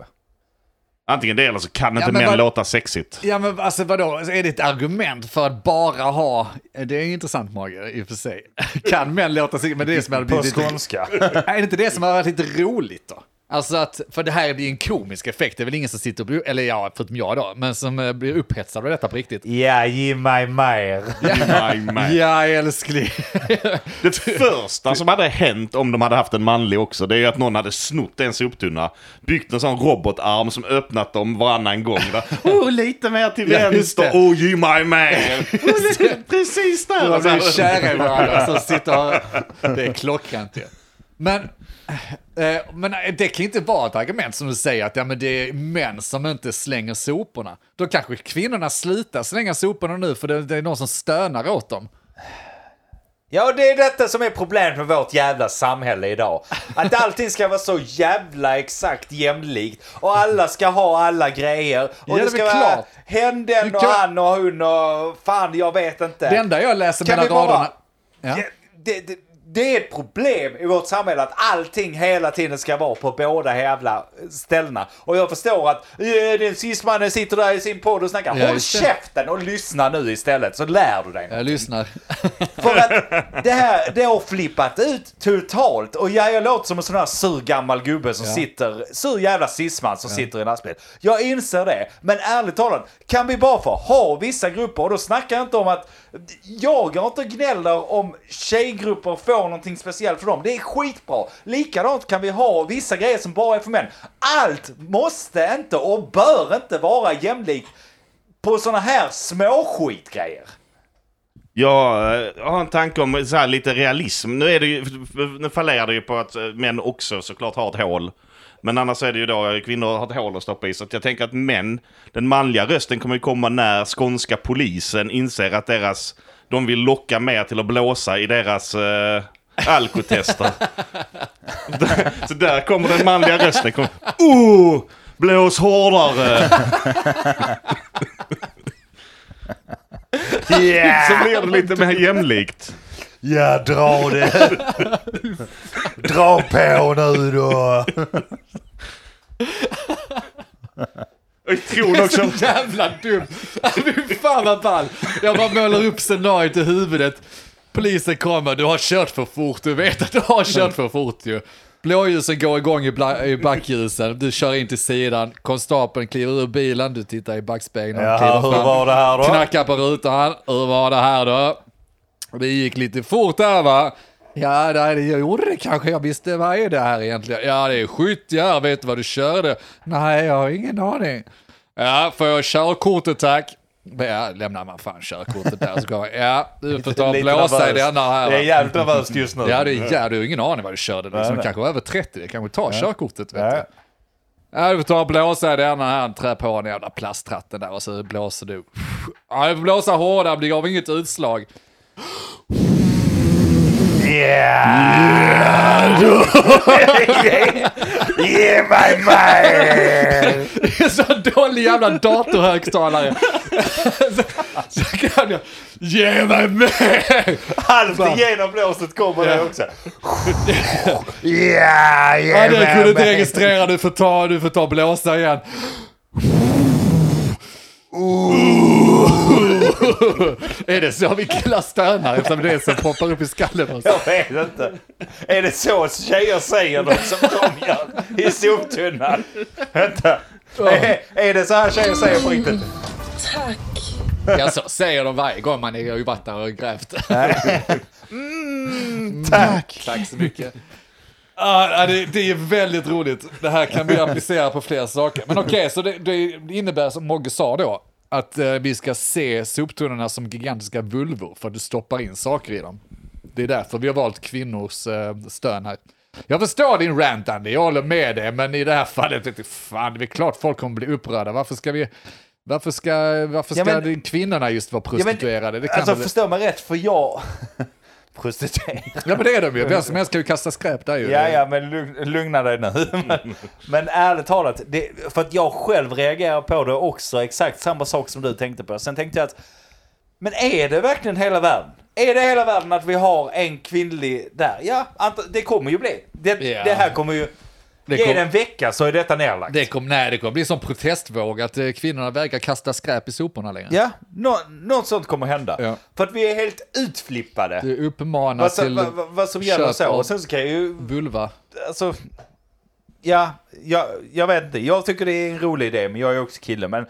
Speaker 3: Antingen det eller så kan inte
Speaker 2: men
Speaker 3: män
Speaker 2: vad-
Speaker 3: låta sexigt.
Speaker 2: Ja men alltså vadå, Alltså, är det ett argument för att bara ha, det är intressant Mage i och för sig. Kan män låta sig, men det är det som hade
Speaker 1: På
Speaker 2: blivit lite,
Speaker 1: skånska.
Speaker 2: är det inte det som hade varit lite roligt då? Alltså att, för det här blir en komisk effekt, det är väl ingen som sitter och blir, eller ja, förutom jag då, men som eh, blir upphetsad av detta på riktigt.
Speaker 1: Ja, ge mig mer.
Speaker 3: Nej, nej.
Speaker 2: Ja, älskling.
Speaker 3: Det första som hade hänt om de hade haft en manlig också, det är ju att någon hade snott en soptunna, byggt en sån robotarm som öppnat dem varannan gång. Va? Oh, lite mer till
Speaker 2: Ja, just
Speaker 3: vänster,
Speaker 2: det.
Speaker 3: oh, you my man. Precis där.
Speaker 2: De blir
Speaker 3: Alltså,
Speaker 2: kära i varandra, så sitter och... Det är klockrent ju. Men, eh, men det kan ju inte vara ett argument som du säger att ja, men det är män som inte slänger soporna. Då kanske kvinnorna slutar slänga soporna nu för det, det är någon som stönar åt dem.
Speaker 1: Ja, och det är detta som är problemet med vårt jävla samhälle idag. Att allting ska vara så jävla exakt jämlikt och alla ska ha alla grejer.
Speaker 2: Ja,
Speaker 1: Och
Speaker 2: det är
Speaker 1: det ska
Speaker 2: väl
Speaker 1: vara
Speaker 2: klart.
Speaker 1: hen, den
Speaker 2: Du
Speaker 1: och
Speaker 2: kan-
Speaker 1: han och hon och fan, jag vet inte.
Speaker 2: Det enda jag läser
Speaker 1: Eh, Kan
Speaker 2: mellan
Speaker 1: vi bara-
Speaker 2: raderna... Ja.
Speaker 1: Ja, det, det, det är ett problem i vårt samhälle att allting hela tiden ska vara på båda jävla ställena. Och jag förstår att eh, den cis-mannen sitter där i sin podd och snackar.
Speaker 2: Ja,
Speaker 1: Håll
Speaker 2: just det.
Speaker 1: käften och lyssna nu istället så lär du dig.
Speaker 2: Jag lyssnar.
Speaker 1: För att det här, det har flippat ut totalt. Och ja, jag låter som en sån här sur gammal gubbe som
Speaker 2: Ja.
Speaker 1: sitter, sur jävla cisman som sitter i en lastbil. Jag inser det, men ärligt talat, kan vi bara få ha vissa grupper? Och då snackar jag inte om att jag går inte och gnäller om tjejgrupper får någonting speciellt för dem. Det är skitbra. Likadant kan vi ha vissa grejer som bara är för män. Allt måste inte och bör inte vara jämlikt på såna här små skitgrejer.
Speaker 3: Jag eh, har en tanke om så här, lite realism. Nu, är det ju, nu fallerar det ju på att eh, män också såklart har ett hål. Men annars är det ju då eh, kvinnor har ett hål att stoppa i. Så att jag tänker att män, den manliga rösten kommer ju komma när skånska polisen inser att deras, de vill locka mer till att blåsa i deras eh, alkotester. så där kommer den manliga rösten. Kom, oh, blås hårdare! Så blir det lite mer jämlikt.
Speaker 1: Ja, dra det. dra på nu då.
Speaker 3: Och Jag tror också...
Speaker 2: Så jävla dumt. Fy fan vad ball. Jag bara målar upp scenariot i huvudet. Polisen kommer, du har kört för fort, du vet att du har kört för fort ju. Blåljusen går igång i, bla- i backljusen, du kör in till sidan, konstapeln kliver ur bilen, du tittar i backspegeln,
Speaker 1: Ja,
Speaker 2: kliver
Speaker 1: hur var det här då?
Speaker 2: knackar på rutan, hur var det här då? Det gick lite fort där va? Ja, nej, det jag gjorde det kanske, jag visste, vad är det här egentligen? Ja, det är skyttjärn, vet du vad du körde? Nej, jag har ingen aning. Ja, får jag körkortet tack? Ja, lämnar man fan körkortet där så går jag. Ja, du får ta och blåsa i denna här.
Speaker 1: Det är
Speaker 2: va?
Speaker 1: jävligt nervöst just nu.
Speaker 2: Ja, det är, ja, du har ingen aning vad du körde. Liksom. Du kanske var över 30, det kanske tar körkortet. Vet du.
Speaker 1: Ja.
Speaker 2: Ja, du får ta och blåsa i denna här, trä på den jävla plasttratten där och så blåser du. Ja, du får blåsa hårdare, det gav inget utslag.
Speaker 1: Ge mig mig!
Speaker 2: Så dålig jävla datorhögtalare. så, så kan jag, ge mig mer!
Speaker 1: Halvt igenom blåset kommer det också. Ja, ge
Speaker 2: Ja, det
Speaker 1: mig
Speaker 2: kunde inte
Speaker 1: mig.
Speaker 2: registrera, du får ta, du får ta och blåsa igen. är det så vi killar stönar eftersom det är som poppar upp i skallen på oss?
Speaker 1: Jag vet inte. Är det så tjejer säger något som de gör i soptunnan? Vänta. Är, är det så här tjejer säger på riktigt?
Speaker 4: Tack.
Speaker 2: Ja, så säger de varje gång man är i vatten och har grävt.
Speaker 1: Tack.
Speaker 2: Tack så mycket. Ah, ja, det, det är väldigt roligt. Det här kan vi applicera på flera saker. Men okej, så det, det innebär som Mogge sa då, att eh, vi ska se soptunnorna som gigantiska vulvor för att du stoppar in saker i dem. Det är därför vi har valt kvinnors eh, stön här. Jag förstår din rant Andy, jag håller med dig, men i det här fallet, vet du, fan, det är klart folk kommer bli upprörda. Varför ska vi... Varför ska, varför ska
Speaker 1: Ja, men-
Speaker 2: det- kvinnorna just vara
Speaker 1: Ja, men-
Speaker 2: prostituerade? det kan
Speaker 1: Alltså
Speaker 2: väl-
Speaker 1: förstå mig rätt, för jag... Prostituerad.
Speaker 2: Ja men det är de ju, vem som helst kan ju kasta skräp där ju.
Speaker 1: Ja, ja, men lugn, lugna dig nu. men, men ärligt talat, det, för att jag själv reagerar på det också, exakt samma sak som du tänkte på. Sen tänkte jag att, men är det verkligen hela världen? Är det hela världen att vi har en kvinnlig där? Ja, ant- det kommer ju bli. Det,
Speaker 2: Ja.
Speaker 1: det här kommer ju...
Speaker 2: Det
Speaker 1: ge
Speaker 2: kom-
Speaker 1: det en vecka så är detta nerlagt.
Speaker 2: Det kom, nej, det kommer bli en sån protestvåg att eh, kvinnorna vägrar kasta skräp i soporna längre.
Speaker 1: Ja, nå, något sånt kommer hända.
Speaker 2: Ja.
Speaker 1: För att vi är helt utflippade.
Speaker 2: Du uppmanar
Speaker 1: Vad, som-
Speaker 2: till
Speaker 1: vad, vad, vad som gäller
Speaker 2: köp
Speaker 1: så.
Speaker 2: av-
Speaker 1: Och sen så kan jag ju
Speaker 2: vulva.
Speaker 1: alltså, ja, jag, jag vet inte. Jag tycker det är en rolig idé, men jag är också kille. Men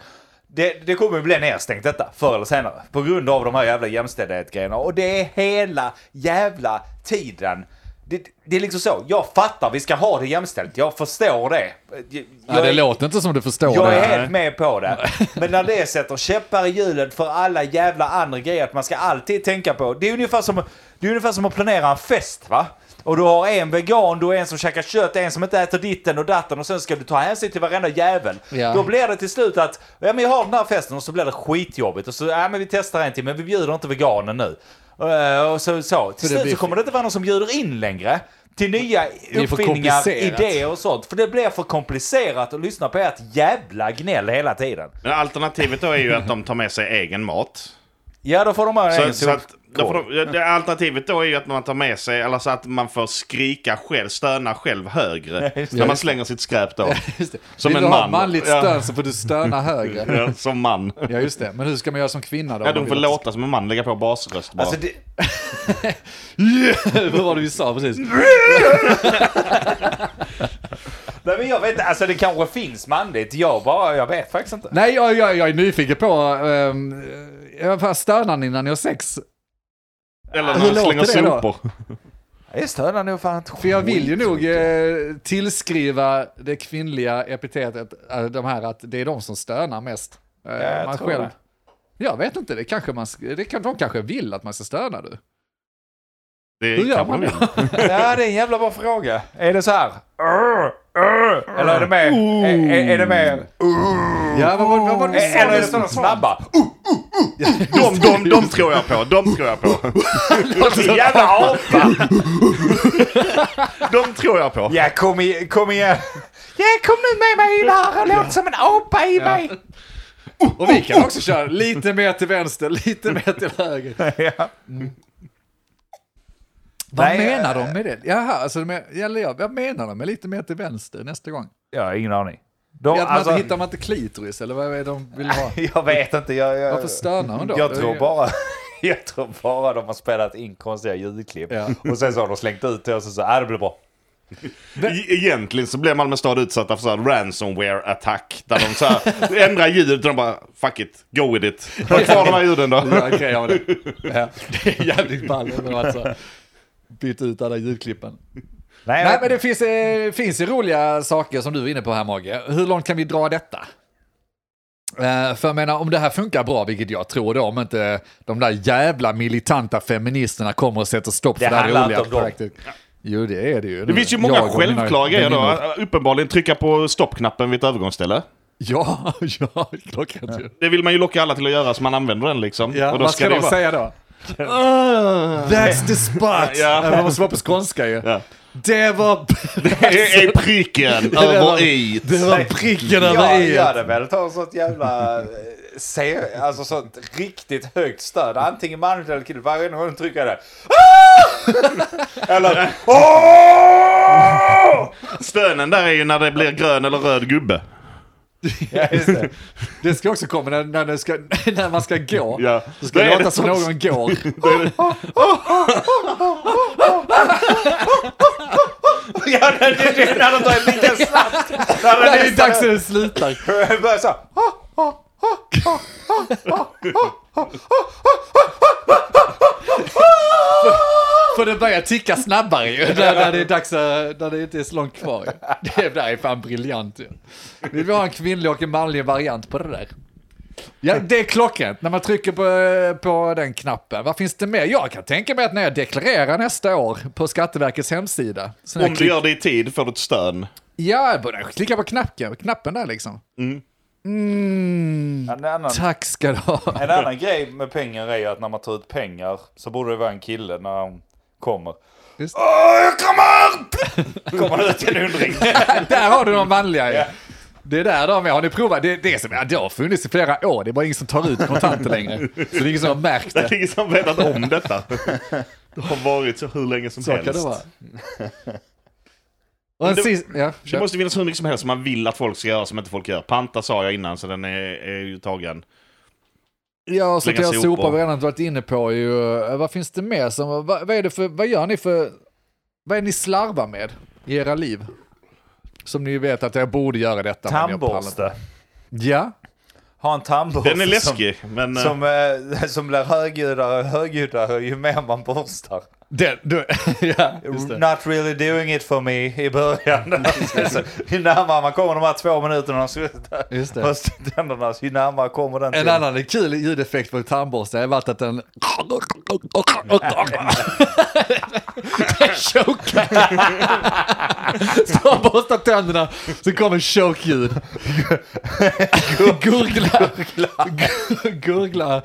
Speaker 1: det, det kommer ju bli nedstängt detta, förr eller senare. På grund av de här jävla jämställdhetsgrejerna. Och det är hela jävla tiden. Det, det är liksom så. Jag fattar, vi ska ha det jämställt. Jag förstår det. Jag,
Speaker 2: Ja, det
Speaker 1: jag-
Speaker 2: låter inte som du förstår
Speaker 1: jag
Speaker 2: det.
Speaker 1: är helt med på det. Men när det sätter käppar i hjulet för alla jävla andra grejer att man ska alltid tänka på. Det är ungefär som, det är ungefär som att planera en fest va? Och du har en vegan, du har en som käkar kött, en som inte äter ditten och datten och sen ska du ta hänsyn till varenda jävel.
Speaker 2: Ja.
Speaker 1: Då blir det till slut att, ja men jag har den här festen och så blir det skitjobbigt och så, ja men vi testar en till men vi bjuder inte veganen nu. Eh, och så, så. Till
Speaker 2: det
Speaker 1: slut
Speaker 2: blir-
Speaker 1: så kommer det inte vara någon som bjuder in längre. Till nya
Speaker 2: är för
Speaker 1: uppfinningar,
Speaker 2: komplicerat.
Speaker 1: idéer och sånt. För det blir för komplicerat att lyssna på ert jävla gnäll hela tiden.
Speaker 3: Men alternativet då är ju att de tar med sig egen mat.
Speaker 1: Ja, då får de ha en
Speaker 3: Så,
Speaker 1: egen
Speaker 3: så att, då får
Speaker 1: sopkorg.
Speaker 3: de, det alternativet då är ju att man tar med sig, eller så att man får skrika själv, stöna själv högre. när man slänger sitt skräp då.
Speaker 2: Just det.
Speaker 3: Som
Speaker 2: Vill
Speaker 3: en
Speaker 2: du ha
Speaker 3: man.
Speaker 2: manligt
Speaker 3: Ja.
Speaker 2: stön så får du stöna högre.
Speaker 3: Ja, som man.
Speaker 2: Ja, just det. Men hur ska man göra som kvinna då?
Speaker 3: Ja,
Speaker 2: om man
Speaker 3: de får
Speaker 2: vill att-
Speaker 3: låta som en man, lägga på basröst bara.
Speaker 1: Alltså, det,
Speaker 2: Vad var det vi sa precis?
Speaker 1: nej, men jag vet inte, alltså det kanske finns manligt. Jag bara, jag vet faktiskt inte.
Speaker 2: Nej, jag, jag, jag är nyfiken på... Um, jag stönar ni när ni har sex?
Speaker 3: Eller
Speaker 2: hur
Speaker 3: när de slänger
Speaker 2: låter det då?
Speaker 3: sopor.
Speaker 1: Jag stönar nog fan inte.
Speaker 2: För jag vill ju nog eh, tillskriva det kvinnliga epitetet, eh, de här att det är de som stönar mest. Eh,
Speaker 1: jag tror det.
Speaker 2: Jag vet inte, det kanske man, sk- det kan, de kanske vill att man ska stöna du.
Speaker 3: Det
Speaker 2: Hur gör
Speaker 3: kan
Speaker 2: man
Speaker 3: man
Speaker 2: det?
Speaker 3: väl.
Speaker 1: Ja, det är en jävla bra fråga. Är det så här? "Arr, arr", Eller är det med? Är, är- är det med?
Speaker 2: Ja, vad, vad, vad var det
Speaker 1: Eller är det sådana snabba?
Speaker 3: De, de, de tror jag på, de tror jag på.
Speaker 1: Din jävla apa!
Speaker 3: De tror jag på.
Speaker 1: Ja, kom, i, kom igen. Ja, kom nu med mig in här och låt som en apa i mig.
Speaker 2: Och vi kan också köra lite mer till vänster, lite mer till höger.
Speaker 1: Ja.
Speaker 2: Vad
Speaker 1: Nej,
Speaker 2: menar de med det? Jaha, alltså, de är- eller jag, vad menar de med lite mer till vänster nästa gång?
Speaker 1: Ja, ingen aning. De,
Speaker 2: Ja, att man
Speaker 1: alltså,
Speaker 2: inte, hittar man inte klitoris eller vad är det de vill ha?
Speaker 1: jag vet inte. Jag, jag,
Speaker 2: Varför stönar hon då?
Speaker 1: Jag
Speaker 2: Det är
Speaker 1: tror
Speaker 2: ju-
Speaker 1: bara... Jag tror bara de har spelat in konstiga ljudklipp.
Speaker 2: Ja.
Speaker 1: Och sen så har de slängt ut det och så så, äh, det blir bra.
Speaker 3: E- Egentligen så blev Malmö stad utsatta för så här ransomware-attack. Där de så här ändrar ljudet och de bara fuck it, go with it. Ha kvar de här ljuden då.
Speaker 2: Ja, okej, ja, men det. Ja, det är jävligt ball men alltså. Byt ut alla ljudklippen.
Speaker 1: Nej,
Speaker 2: Nej,
Speaker 1: jag-
Speaker 2: men det finns, eh, finns ju roliga saker som du är inne på här, Mage. Hur långt kan vi dra detta? Eh, för jag menar, om det här funkar bra, vilket jag tror då, om inte de där jävla militanta feministerna kommer och sätter stopp för
Speaker 1: Det
Speaker 2: det här
Speaker 1: handlar
Speaker 2: roliga
Speaker 1: inte om dem.
Speaker 2: projektet. Jo, det är det ju.
Speaker 3: Det finns ju många självklara grejer då. Uppenbarligen trycka på stoppknappen vid ett övergångsställe.
Speaker 2: Ja, ja, klockrent ju.
Speaker 3: Det vill man ju locka alla till att göra så man använder den liksom.
Speaker 2: Ja,
Speaker 3: och då
Speaker 2: vad ska
Speaker 3: ska det
Speaker 2: de
Speaker 3: vara...
Speaker 2: säga då? That's the spot!
Speaker 3: Ja.
Speaker 2: ja. Man måste vara på skånska ju.
Speaker 3: Ja.
Speaker 2: Det var...
Speaker 3: Är, är pricken över i?
Speaker 2: Det var pricken över
Speaker 1: Jag
Speaker 2: i.
Speaker 1: gör det väl. Ta sånt jävla... eh, Se, alltså sånt riktigt högt stöd. Antingen manligt eller kille. Varje gång de trycker det. Ah! Eller... Åh!
Speaker 3: Stönen där är ju när det blir grön eller röd gubbe.
Speaker 1: Ja, just det.
Speaker 2: Det ska också komma när, när, det ska, när man ska gå.
Speaker 3: Ja.
Speaker 2: Så ska
Speaker 3: Då
Speaker 2: det
Speaker 3: är
Speaker 2: låta
Speaker 3: det
Speaker 2: som
Speaker 3: som-
Speaker 2: någon går.
Speaker 1: Ja, det det- det är när de tar en liten slatt. När
Speaker 2: Det är
Speaker 1: nästan-
Speaker 2: dags att det slutar.
Speaker 1: Börjar så.
Speaker 2: För det börjar ticka snabbare ju. När, när det är dags att, när det inte är så långt kvar. ju. Det där är fan briljant ju. Vi vill ha en kvinnlig och en manlig variant på det där. Ja, det är klockrent. När man trycker på, på den knappen. Vad finns det mer? Jag kan tänka mig att när jag deklarerar nästa år på Skatteverkets hemsida. Så när
Speaker 3: Om
Speaker 2: jag
Speaker 3: du
Speaker 2: klick,
Speaker 3: gör det i tid får du ett stön.
Speaker 2: ja, jag börjar klicka på knappen, knappen där liksom. Mm,
Speaker 1: En annan,
Speaker 2: tack ska du ha.
Speaker 1: en annan grej med pengar är ju att när man tar ut pengar så borde det vara en kille när han kommer.
Speaker 2: Just.
Speaker 1: Åh, jag kommer! Kommer det ut en hundring.
Speaker 2: Där har du de manliga ju.
Speaker 1: Ja.
Speaker 2: Det är där de är. Har ni provat? Det, det, är som, ja, det har funnits i flera år. Det är bara ingen som tar ut kontanter längre. Så det är ingen som har märkt
Speaker 3: Det är
Speaker 2: det.
Speaker 3: ingen som vetat om detta. Det har varit så hur länge som
Speaker 2: Så
Speaker 3: helst.
Speaker 2: kan det vara. Och en
Speaker 3: det-
Speaker 2: sist, ja,
Speaker 3: Det
Speaker 2: kör.
Speaker 3: måste finnas hur mycket som helst som man vill att folk ska göra som inte folk gör. Panta sa jag innan så den är, är ju tagen.
Speaker 2: ja, och så
Speaker 3: slänga
Speaker 2: kan jag
Speaker 3: sopor.
Speaker 2: sopa. Vi har redan varit inne på ju. eh, Vad finns det mer som, vad, vad är det för, vad gör ni för, vad är ni slarvar med i era liv? Som ni vet att jag borde göra detta. men jag pallar inte.
Speaker 1: Tandborste.
Speaker 2: Ja,
Speaker 1: Ha en tandborste.
Speaker 3: Den är läskig, men... eh,
Speaker 1: Som, som, eh, som blir högljuddare och högljuddare ju mer man borstar.
Speaker 2: den, du, ja just det.
Speaker 1: Not really doing it for me i början. Alltså, ju närmare man kommer de här två minuterna och slutar
Speaker 2: Just det.
Speaker 1: fast tänderna, så ju närmare kommer den
Speaker 2: En
Speaker 1: till.
Speaker 2: annan kul ljudeffekt på tandborste har varit att den... Den chokar. Så han borstar tänderna, så kommer choke-ljud. Gurgla. Gurgla.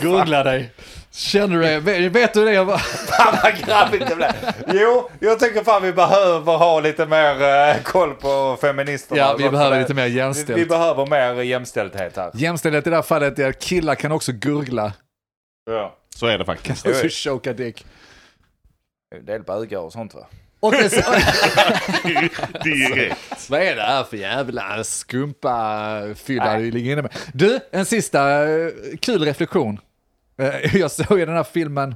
Speaker 2: Gurgla dig. Känner du det? Vet du det? Jag bara-
Speaker 1: Fan vad grabbigt det blev. Jo, jag tycker fan vi behöver ha lite mer eh, koll på feministerna.
Speaker 2: Ja, vi
Speaker 1: Varför
Speaker 2: behöver
Speaker 1: det-
Speaker 2: lite mer
Speaker 1: vi,
Speaker 2: jämställt.
Speaker 1: vi behöver mer jämställdhet här.
Speaker 2: Jämställdhet i det här fallet är att killar kan också gurgla.
Speaker 1: Ja.
Speaker 3: Så är det faktiskt.
Speaker 2: Och så choka dick.
Speaker 1: En del bögar och sånt va?
Speaker 2: Och det,
Speaker 3: Direkt.
Speaker 2: Vad är det här för jävla skumpa fylla du ligger inne med? Du, en sista eh, kul reflektion. Eh, Jag såg ju den här filmen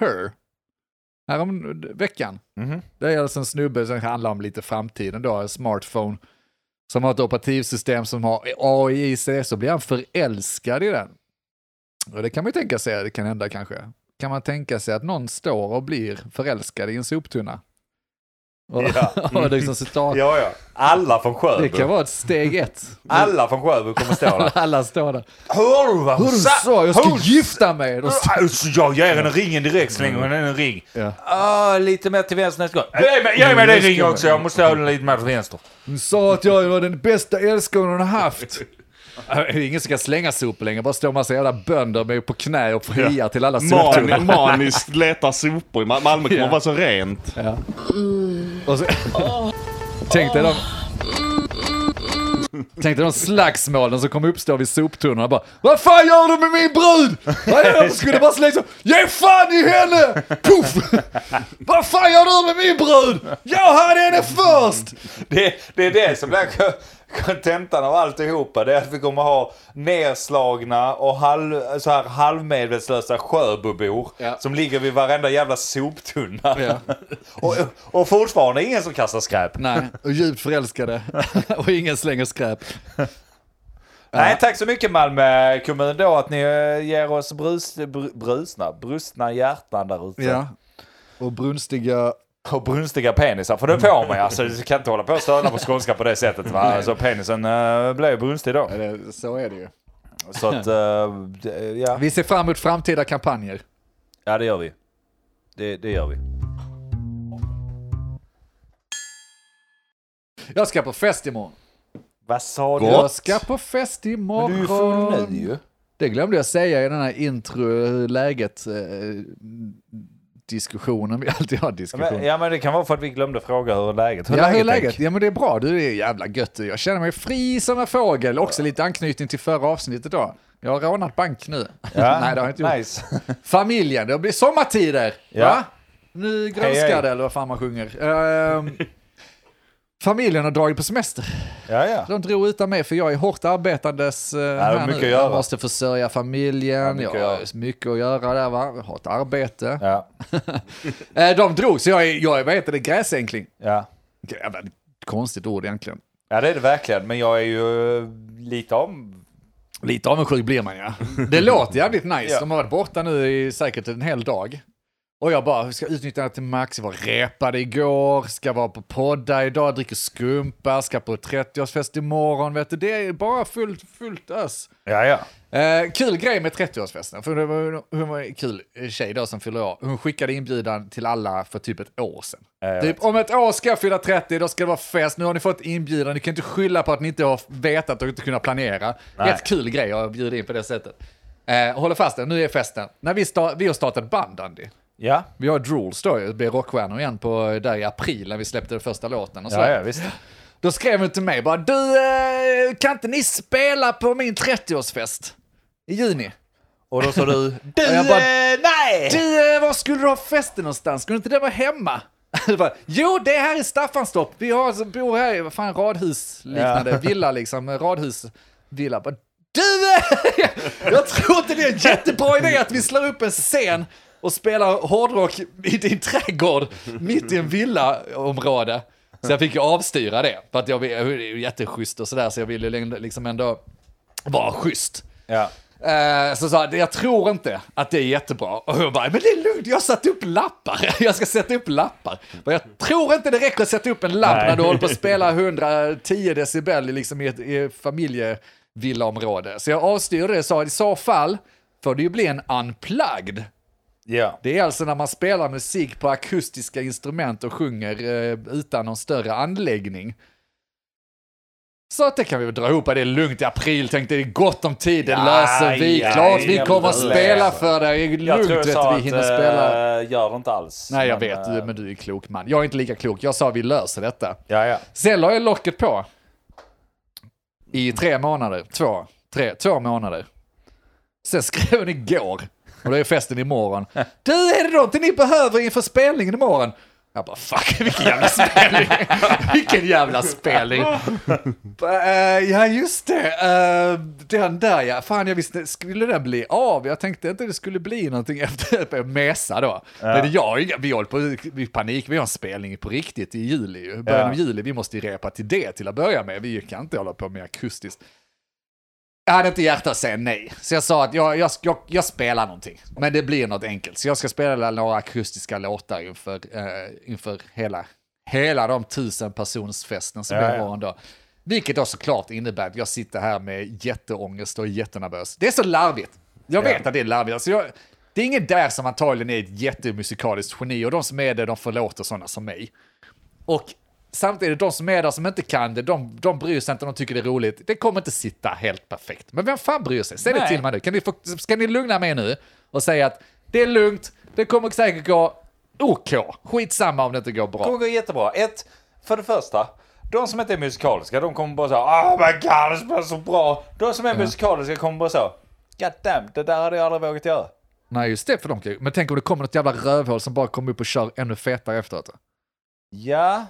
Speaker 2: Her härom veckan. Det är alltså en snubbe som handlar om lite framtiden då, en smartphone som har ett operativsystem som har AI i sig, så blir han förälskad i den. Och det kan man ju tänka sig, det kan hända kanske. Kan man tänka sig att någon står och blir förälskad i en soptunna? Och,
Speaker 1: Ja.
Speaker 2: och liksom sitta
Speaker 1: Ja, ja. Alla från
Speaker 2: det
Speaker 1: Sjöbo.
Speaker 2: kan vara ett steg ett.
Speaker 1: Alla från Sjöbo kommer stå där.
Speaker 2: Alla står där.
Speaker 1: Hör du vad
Speaker 2: Hur du sa, jag ska
Speaker 1: Hon-
Speaker 2: gifta mig! Då står-
Speaker 1: Alltså, jag ger henne ringen direkt, slänger henne en ring.
Speaker 2: Ja.
Speaker 1: Ah, lite mer till vänster nästa gång. Ge mig, ge mig den ringen också, jag måste ha den lite mer till vänster.
Speaker 2: Hon sa att jag var den bästa älskaren hon har haft. Det är ingen som kan slänga sopor längre, bara står massa jävla bönder med på knä och friar till alla soptunnor.
Speaker 3: Man, maniskt letar sopor. i Ma- Malmö kommer
Speaker 2: Ja.
Speaker 3: vara så rent.
Speaker 2: Och så- Tänk dig de... Tänk dig de slagsmålen som kommer uppstå vid soptunnorna bara Vad fan gör du med min brud? Vad är det? Skulle bara slänga så- Ge fan i henne! Puff! Vad fan gör du med min brud? Jag hade henne först!
Speaker 1: Det, det är det som blir kontentan av alltihopa. Det är att vi kommer ha nerslagna och halv, så här halvmedvetslösa Sjöbobor
Speaker 2: Ja.
Speaker 1: som ligger vid varenda jävla soptunna.
Speaker 2: Ja.
Speaker 1: och, och fortfarande ingen som kastar skräp. Nej,
Speaker 2: Nej, och djupt förälskade. Och ingen slänger skräp.
Speaker 1: tack så mycket Malmö kommun då att ni eh, ger oss brus, br, brusna, brustna hjärtan där ute.
Speaker 2: Ja. Och brunstiga...
Speaker 1: Och brunstiga penisar, för det får man ju. Alltså, du kan inte hålla på och stöna på skånska på det sättet. Va? Alltså, penisen eh, blev ju brunstig då.
Speaker 2: Eller, eh, så är det ju.
Speaker 1: Så att, eh, det- ja.
Speaker 2: Vi ser fram emot framtida kampanjer.
Speaker 1: ja, det gör vi. Det, det gör vi.
Speaker 2: Jag ska på fest imorgon.
Speaker 1: Vad sa du?
Speaker 2: Jag ska på fest imorgon.
Speaker 1: Du är full nu ju.
Speaker 2: Det glömde jag säga i den här eh, intro-läget-diskussionen. Vi alltid har diskussion.
Speaker 1: Men, ja, men det kan vara för att vi glömde fråga hur läget
Speaker 2: Ja, hur är
Speaker 1: Erik?
Speaker 2: eh, läget? Ja, men det är bra. Du, det är jävla gött. Jag känner mig fri som en fågel. Också lite anknytning till förra avsnittet då. Jag har rånat bank nu.
Speaker 1: Ja,
Speaker 2: Nej, det har jag inte gjort.
Speaker 1: nice.
Speaker 2: Familjen, det blir sommartider.
Speaker 1: Ja.
Speaker 2: Va? Nu grönskar
Speaker 1: Hej, hej.
Speaker 2: det, eller vad fan man sjunger. Ehm, familjen har dragit på semester.
Speaker 1: Ja, ja.
Speaker 2: De drog utan mig för jag är hårt arbetandes eh,
Speaker 1: har
Speaker 2: här
Speaker 1: mycket
Speaker 2: nu.
Speaker 1: att göra.
Speaker 2: Jag måste försörja familjen.
Speaker 1: mycket
Speaker 2: Jag
Speaker 1: att göra.
Speaker 2: har mycket att göra där va. Jag har ett arbete.
Speaker 1: ja,
Speaker 2: Eh, De drog så jag är, jag är vad heter det, gräsänkling.
Speaker 1: ja.
Speaker 2: Jävla konstigt ord egentligen.
Speaker 1: ja, det är det verkligen. Men jag är ju eh, lite om...
Speaker 2: Lite avundsjuk blir man ja. Mm. Det låter jävligt nice.
Speaker 1: Ja.
Speaker 2: De har varit borta nu i säkert en hel dag. Och jag bara ska utnyttja det till max. Jag var repade igår, ska vara på podda idag, dricker skumpa, ska på 30-årsfest imorgon. Vet du, det är bara fullt, fullt ös.
Speaker 1: Ja, ja.
Speaker 2: Eh, kul grej med 30-årsfesten, för det var, hon var en kul tjej då som fyller år. Hon skickade inbjudan till alla för typ ett år sedan.
Speaker 1: jag
Speaker 2: typ, om ett år ska jag fylla 30, då ska det vara fest. Nu har ni fått inbjudan, ni kan inte skylla på att ni inte har vetat och inte kunnat planera. Rätt kul grej att bjuda in på det sättet. Eh, håller fast det, nu är festen. När vi, sta- vi har startat band, Andy.
Speaker 1: Ja,
Speaker 2: Vi har Drools då, ju, blev rockstjärnor igen på, eh, där i april när vi släppte den första låten. Och så.
Speaker 1: ja, ja visst.
Speaker 2: Då skrev hon till mig bara, du eh, kan inte ni spela på min 30-årsfest i juni?
Speaker 1: Och då sa du... Du,
Speaker 2: Och jag bara-
Speaker 1: eh, nej!
Speaker 2: Du, eh, var skulle du ha festen någonstans? Skulle inte det vara hemma? Du bara, jo, det är här i Staffanstorp. Vi har, alltså, bor här i vad fan, radhusliknande villa, liksom. Radhusvilla. Bara, du, eh, jag tror inte det är en jättebra idé att vi slår upp en scen och spelar hårdrock i din trädgård mitt i en villaområde. Så jag fick ju avstyra det, för att jag, vill- jag är ju jätteschysst och sådär, så jag ville ju längd- liksom ändå vara schysst.
Speaker 1: Ja.
Speaker 2: Eh, Så sa han, jag tror inte att det är jättebra. Och hon bara, men det är lugnt, jag har satt upp lappar. Jag ska sätta upp lappar. Men jag tror inte det räcker att sätta upp en lapp
Speaker 1: Nej.
Speaker 2: när du håller på att spela 110 decibel liksom i ett i ett familjevillaområde. Så jag avstyrde det och sa, i så fall får det ju bli en unplugged.
Speaker 1: Ja.
Speaker 2: Det är alltså när man spelar musik på akustiska instrument och sjunger eh, utan någon större anläggning. Så att det kan vi väl dra ihop, det är lugnt i april, tänkte det är gott om tid, det
Speaker 1: Ja,
Speaker 2: löser vi.
Speaker 1: ja,
Speaker 2: Klart vi
Speaker 1: ja,
Speaker 2: kommer att
Speaker 1: löser.
Speaker 2: spela för dig, det är
Speaker 1: Jag
Speaker 2: lugnt
Speaker 1: tror jag
Speaker 2: vet
Speaker 1: sa
Speaker 2: vi
Speaker 1: att
Speaker 2: hinner spela.
Speaker 1: eh, gör det inte alls.
Speaker 2: Nej jag
Speaker 1: Men,
Speaker 2: vet,
Speaker 1: eh,
Speaker 2: du, men du är klok man. Jag är inte lika klok, jag sa vi löser detta.
Speaker 1: Ja, ja.
Speaker 2: Sen la jag locket på. I tre månader, två, tre, två månader. Sen skrev hon igår, och då är festen imorgon. Du, är det någonting ni behöver inför spelningen imorgon? Jag bara, fuck, vilken jävla spelning. vilken jävla spelning. Eh, ja, just det. Eh, den där ja. Fan, jag visste, skulle den bli av? Jag tänkte inte det skulle bli någonting efter att jag mesa då. Men jag, har ju- vi håller på vi panik, vi har en spelning på riktigt i juli ju. Början
Speaker 1: Ja.
Speaker 2: av juli, vi måste ju repa till det till att börja med. Vi kan inte hålla på med akustiskt. Jag hade inte hjärta att säga nej, så jag sa att jag, jag, jag, jag spelar någonting. Men det blir något enkelt, så jag ska spela några akustiska låtar inför, eh, inför hela, hela de tusen personersfesten som
Speaker 1: Ja,
Speaker 2: jag
Speaker 1: ja.
Speaker 2: har en dag. Vilket då såklart innebär att jag sitter här med jätteångest och är jättenervös. Det är så larvigt. Jag vet att det är larvigt. Alltså jag, det är ingen där som antagligen är ett jättemusikaliskt geni och de som är det de förlåter sådana som mig. Och samtidigt, de som är där som inte kan det, de, de bryr sig inte, de tycker det är roligt. Det kommer inte sitta helt perfekt. Men vem fan bryr sig? Säg det
Speaker 1: Nej.
Speaker 2: till mig nu. Kan ni få, ska ni lugna mig nu och säga att det är lugnt, det kommer säkert gå OK. Skitsamma om det inte går
Speaker 1: Det
Speaker 2: bra.
Speaker 1: kommer gå jättebra. Ett, för det första. De som inte är musikaliska, de kommer bara så här, oh my god, det spelar så bra. De som är musikaliska kommer bara så, god damn, det där hade jag aldrig vågat göra.
Speaker 2: Nej, just det, för de kan ju- Men tänk om det kommer något jävla rövhål som bara kommer upp och kör ännu fetare efteråt.
Speaker 1: Ja,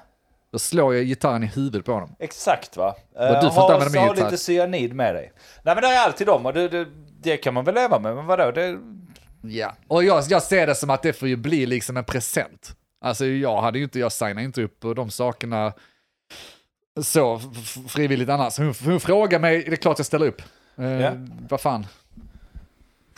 Speaker 2: Då slår jag gitarren i huvudet på honom.
Speaker 1: Exakt va.
Speaker 2: du får
Speaker 1: Eh,
Speaker 2: inte
Speaker 1: ha-
Speaker 2: använda min
Speaker 1: ha
Speaker 2: gitarr.
Speaker 1: lite cyanid med dig. Nej men det är alltid dem och det, det, det kan man väl leva med. Men vadå? Det,
Speaker 2: Ja. Och jag, jag ser det som att det får ju bli liksom en present. Alltså jag hade ju inte, jag signade inte upp på de sakerna så f- f- frivilligt annars. Hon, hon frågar mig, det är klart jag ställer upp. Eh,
Speaker 1: Ja.
Speaker 2: Vad fan.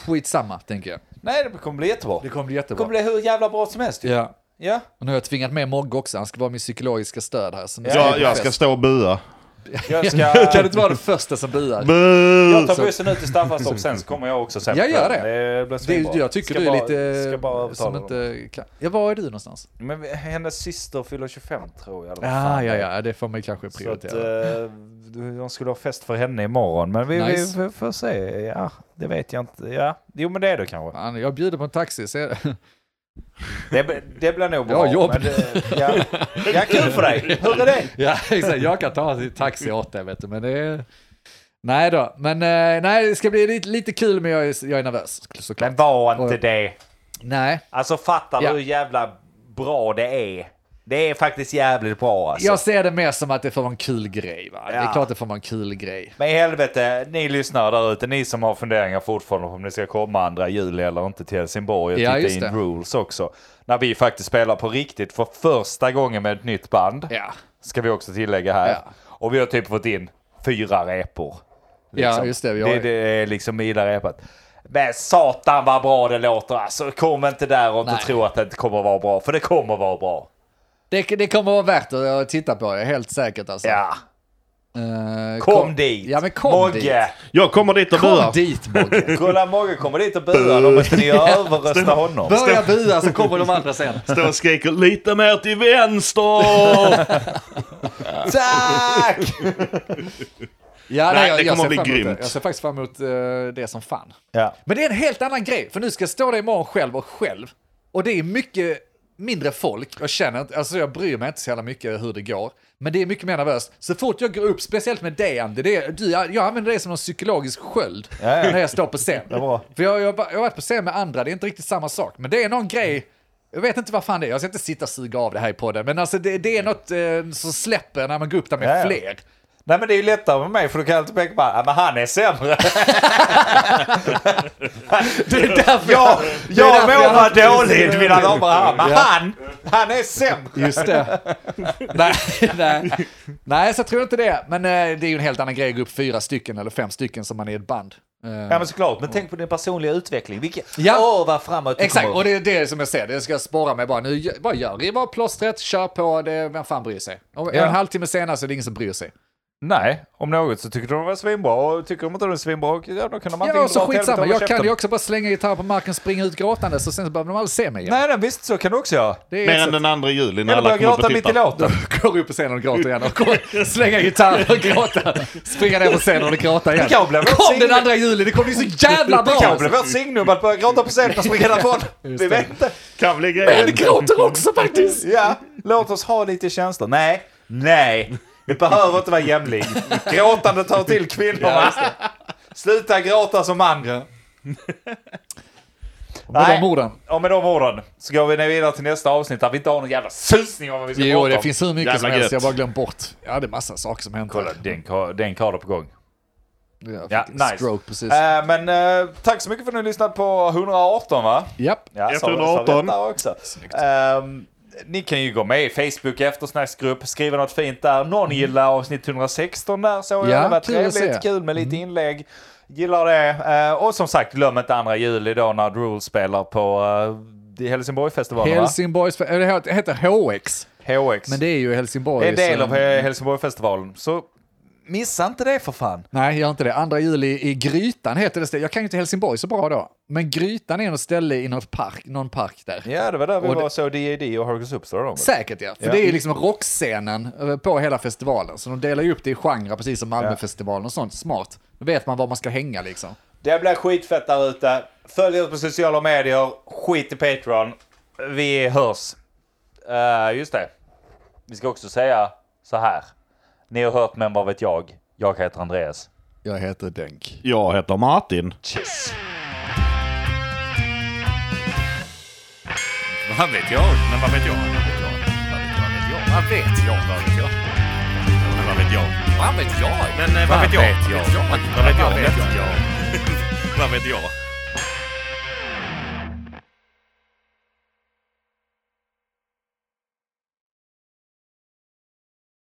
Speaker 2: Skitsamma, tänker jag.
Speaker 1: nej det kommer bli jättebra.
Speaker 2: Det kommer bli
Speaker 1: Det
Speaker 2: jättebra.
Speaker 1: kommer bli hur jävla bra som helst. ju.
Speaker 2: Ja.
Speaker 1: Ja.
Speaker 2: Och nu har jag tvingat med Mogge också, han ska vara min psykologiska stöd här. Så nu vi
Speaker 3: Jag,
Speaker 2: på
Speaker 3: jag ska
Speaker 2: fest.
Speaker 3: stå och bua.
Speaker 1: Jag ska...
Speaker 2: Kan du inte vara den första som buar?
Speaker 3: Bu!
Speaker 1: Jag tar bussen ut till Staffanstorp sen så kommer jag också sen.
Speaker 2: Jag gör det.
Speaker 1: Det blir
Speaker 2: Det,
Speaker 1: svinbra.
Speaker 2: är- jag tycker
Speaker 1: Ska
Speaker 2: du är
Speaker 1: bara-
Speaker 2: lite...
Speaker 1: Ska bara
Speaker 2: som
Speaker 1: övertala dem.
Speaker 2: inte kan. Ja, var är du någonstans?
Speaker 1: Men hennes syster fyller 25 tror jag. eller vad
Speaker 2: Ja,
Speaker 1: fan
Speaker 2: Ah, ja,
Speaker 1: det är.
Speaker 2: ja, det får man ju kanske
Speaker 1: Ah, Så att,
Speaker 2: prioritera.
Speaker 1: eh, de skulle ha fest för henne imorgon. Men vi,
Speaker 2: Nice.
Speaker 1: vi, vi får se. Ja, det vet jag inte. Ja. Jo men det är det kanske.
Speaker 2: Fan, jag bjuder på en taxi. Så...
Speaker 1: Det, det blir nog
Speaker 2: Jag
Speaker 1: bra.
Speaker 2: har jobb.
Speaker 1: Men det, ja. ja, kul för dig. Hur är det?
Speaker 2: ja, exakt. Jag kan ta en taxi åt dig, vet du. Men det är... Nej då, men eh, nej, det ska bli lite, lite kul, men jag är, jag är nervös såklart.
Speaker 1: Men var inte det.
Speaker 2: Nej,
Speaker 1: Alltså fattar
Speaker 2: Ja.
Speaker 1: du hur jävla bra det är? Det är faktiskt jävligt bra alltså.
Speaker 2: jag ser det mer som att det får vara en kul grej. Va? Det är
Speaker 1: Ja.
Speaker 2: klart det får vara en kul grej.
Speaker 1: Men i helvete, ni lyssnare där ute, ni som har funderingar fortfarande på om ni ska komma andra juli eller inte till Helsingborg och
Speaker 2: Ja,
Speaker 1: titta
Speaker 2: just
Speaker 1: in
Speaker 2: det.
Speaker 1: rules också. När vi faktiskt spelar på riktigt för första gången med ett nytt band.
Speaker 2: Ja,
Speaker 1: Ska vi också tillägga här.
Speaker 2: Ja.
Speaker 1: Och vi har typ fått in fyra repor. liksom.
Speaker 2: ja just det. Vi har...
Speaker 1: Det, det är liksom illa repat. Men satan vad bra det låter alltså. Kom inte där och inte
Speaker 2: Nej.
Speaker 1: tro att det inte kommer vara bra. För det kommer vara bra.
Speaker 2: Det, det kommer vara värt att att titta på, jag är helt säkert. Alltså.
Speaker 1: Ja.
Speaker 2: Eh,
Speaker 1: Kom, dit!
Speaker 2: Ja, men kom dit.
Speaker 1: Mogge!
Speaker 3: Jag kommer dit och
Speaker 2: Kom
Speaker 3: buar.
Speaker 2: dit, Mogge.
Speaker 1: Kolla Mogge kommer dit och buar. Då måste ni överrösta honom.
Speaker 2: Börja bua så kommer de andra sen.
Speaker 3: Står och skriker lite mer till vänster!
Speaker 1: Tack!
Speaker 2: Ja,
Speaker 3: Nej,
Speaker 2: jag,
Speaker 3: det
Speaker 2: jag
Speaker 3: kommer
Speaker 2: ser
Speaker 3: bli
Speaker 2: fram emot
Speaker 3: grymt.
Speaker 2: det. Jag ser faktiskt fram emot eh, det som fan.
Speaker 1: Ja.
Speaker 2: Men det är en helt annan grej, för nu ska jag stå där imorgon själv och själv. Och det är mycket mindre folk, jag känner inte, alltså jag bryr mig inte så jävla mycket hur det går. Men det är mycket mer nervöst. Så fort jag går upp, speciellt med dig Andy, det är, du, jag, jag använder det som en psykologisk sköld
Speaker 1: Ja, ja.
Speaker 2: när jag står på scen.
Speaker 1: bra.
Speaker 2: För jag, jag, har bara- jag har varit på scen med andra, det är inte riktigt samma sak. Men det är någon grej, jag vet inte vad fan det är, jag ska inte sitta och suga av det här i podden, men alltså det, det är något eh, som släpper när man går upp där med
Speaker 1: Ja, ja.
Speaker 2: fler.
Speaker 1: Nej men det är ju lättare med mig för då kan jag alltid peka på "Ah, men han är sämre.
Speaker 2: Det är därför
Speaker 1: Jag,
Speaker 2: det är
Speaker 1: jag
Speaker 2: därför
Speaker 1: mår
Speaker 2: alltid-
Speaker 1: bara dåligt mina damer och herrar. Men
Speaker 2: Ja.
Speaker 1: han, han är sämre.
Speaker 2: Just det. nej, nej. nej, så jag tror inte det. Men eh, det är ju en helt annan grej att gå upp fyra stycken eller fem stycken som man är i ett band. Eh,
Speaker 1: Ja men såklart, men tänk på din personliga utveckling. Vilken,
Speaker 2: Ja.
Speaker 1: åh vad framåt du
Speaker 2: Exakt,
Speaker 1: kommer.
Speaker 2: och det är det som jag säger, det ska jag spara mig bara. Nu, gö- bara gör det, bara plåstret, kör på, det, vem fan bryr sig? Om
Speaker 1: Ja.
Speaker 2: en halvtimme senare så är det ingen som bryr sig.
Speaker 1: Nej, om något så tycker de var svinbra och tycker de inte de är svinbra, ja, då kan de
Speaker 2: Ja,
Speaker 1: antingen
Speaker 2: och så
Speaker 1: dra åt helvete
Speaker 2: skitsamma,
Speaker 1: eller
Speaker 2: jag kan
Speaker 1: käften.
Speaker 2: ju också bara slänga gitarr på marken, springa ut gråtandes och sen så behöver de aldrig se mig igen.
Speaker 1: Nej, nej visst, så kan du också göra.
Speaker 2: Det är
Speaker 3: Mer
Speaker 2: ett
Speaker 3: än
Speaker 2: sätt.
Speaker 3: den andra juli när
Speaker 1: Eller
Speaker 3: alla
Speaker 1: börja
Speaker 3: kommer upp
Speaker 1: gråta
Speaker 3: och
Speaker 1: mitt i
Speaker 3: tittar.
Speaker 1: låten.
Speaker 2: Går upp på scenen och gråter igen och går, slänga gitarr och gråta. Springa ner på scenen och gråta igen.
Speaker 1: Det kan bli vårt
Speaker 2: Kom den
Speaker 1: signum.
Speaker 2: andra juli, det kommer bli så jävla
Speaker 1: Det
Speaker 2: bra!
Speaker 1: kan bli vårt signum att börja gråta på scenen och springa därifrån. Vi vet inte.
Speaker 3: Kan bli
Speaker 2: Det
Speaker 3: grejen.
Speaker 2: gråter också faktiskt!
Speaker 1: Ja, låt oss ha lite känslor. Nej, nej. Det behöver inte vara jämlik. Gråtande tar till kvinnorna. Sluta gråta som andra.
Speaker 2: Med
Speaker 1: Nej.
Speaker 2: de orden.
Speaker 1: Och med de orden så går vi nu vidare till nästa avsnitt där vi inte har någon jävla susning om vad vi ska
Speaker 2: Jo,
Speaker 1: prata
Speaker 2: det
Speaker 1: om.
Speaker 2: finns hur mycket
Speaker 3: Jävla
Speaker 2: som helst,
Speaker 3: gött.
Speaker 2: jag har bara glömt bort. Ja, det är massa saker som hänt.
Speaker 1: Kolla, den, ka- den kader på gång.
Speaker 2: Jag
Speaker 1: Ja,
Speaker 2: fick en
Speaker 1: nice.
Speaker 2: Stroke precis.
Speaker 1: Eh, men eh, tack så mycket för att ni har lyssnat på 118 va?
Speaker 2: Japp.
Speaker 1: Ja, sa- sa
Speaker 3: 118.
Speaker 1: rätt där också. Ehm, ni kan ju gå med i Facebook eftersnacksgrupp, skriva något fint där. Någon gillar avsnitt 116 där, så jag.
Speaker 2: Ja,
Speaker 1: det var
Speaker 2: kul att
Speaker 1: trevligt,
Speaker 2: se. Mm.
Speaker 1: kul med lite inlägg. Gillar det. Eh, och som sagt, glöm inte andra juli då när Drool spelar på uh, Helsingborgfestivalen va?
Speaker 2: Helsingborgs... eller Det heter HX,
Speaker 1: HX.
Speaker 2: men det är ju Helsingborg.
Speaker 1: Det är en del
Speaker 2: så-
Speaker 1: av eh, Helsingborgfestivalen. Så missa inte det för fan.
Speaker 2: Nej, gör inte det. Andra juli i Grytan heter det. ställe. Jag kan ju inte Helsingborg så bra då. Men Grytan är något ställe i något park, någon park där.
Speaker 1: Ja, det var där vi
Speaker 2: Och det-
Speaker 1: var så DAD och Hercules Superstar. då.
Speaker 2: Säkert ja, för
Speaker 1: Ja.
Speaker 2: det är ju liksom rockscenen eh, på hela festivalen. Så de delar ju upp det i genrer, precis som Malmöfestivalen och sånt. Smart. Då vet man var man ska hänga liksom.
Speaker 1: Det blir skitfett där ute. Följ oss på sociala medier. Skit i Patreon. Vi hörs. Eh, just det. Vi ska också säga så här. Ni har hört Men vad vet jag? Jag heter Andreas.
Speaker 2: Jag heter Denk.
Speaker 3: Jag heter Martin.
Speaker 5: Vad vet jag? Men vad vet jag? Vad vet jag? Vad vet jag? Vad vet jag? Vad vet jag? Men vad vet jag? Vad vet jag? Men eh, vad vet jag? Vad vet jag? Vad vet jag? Vad vet jag?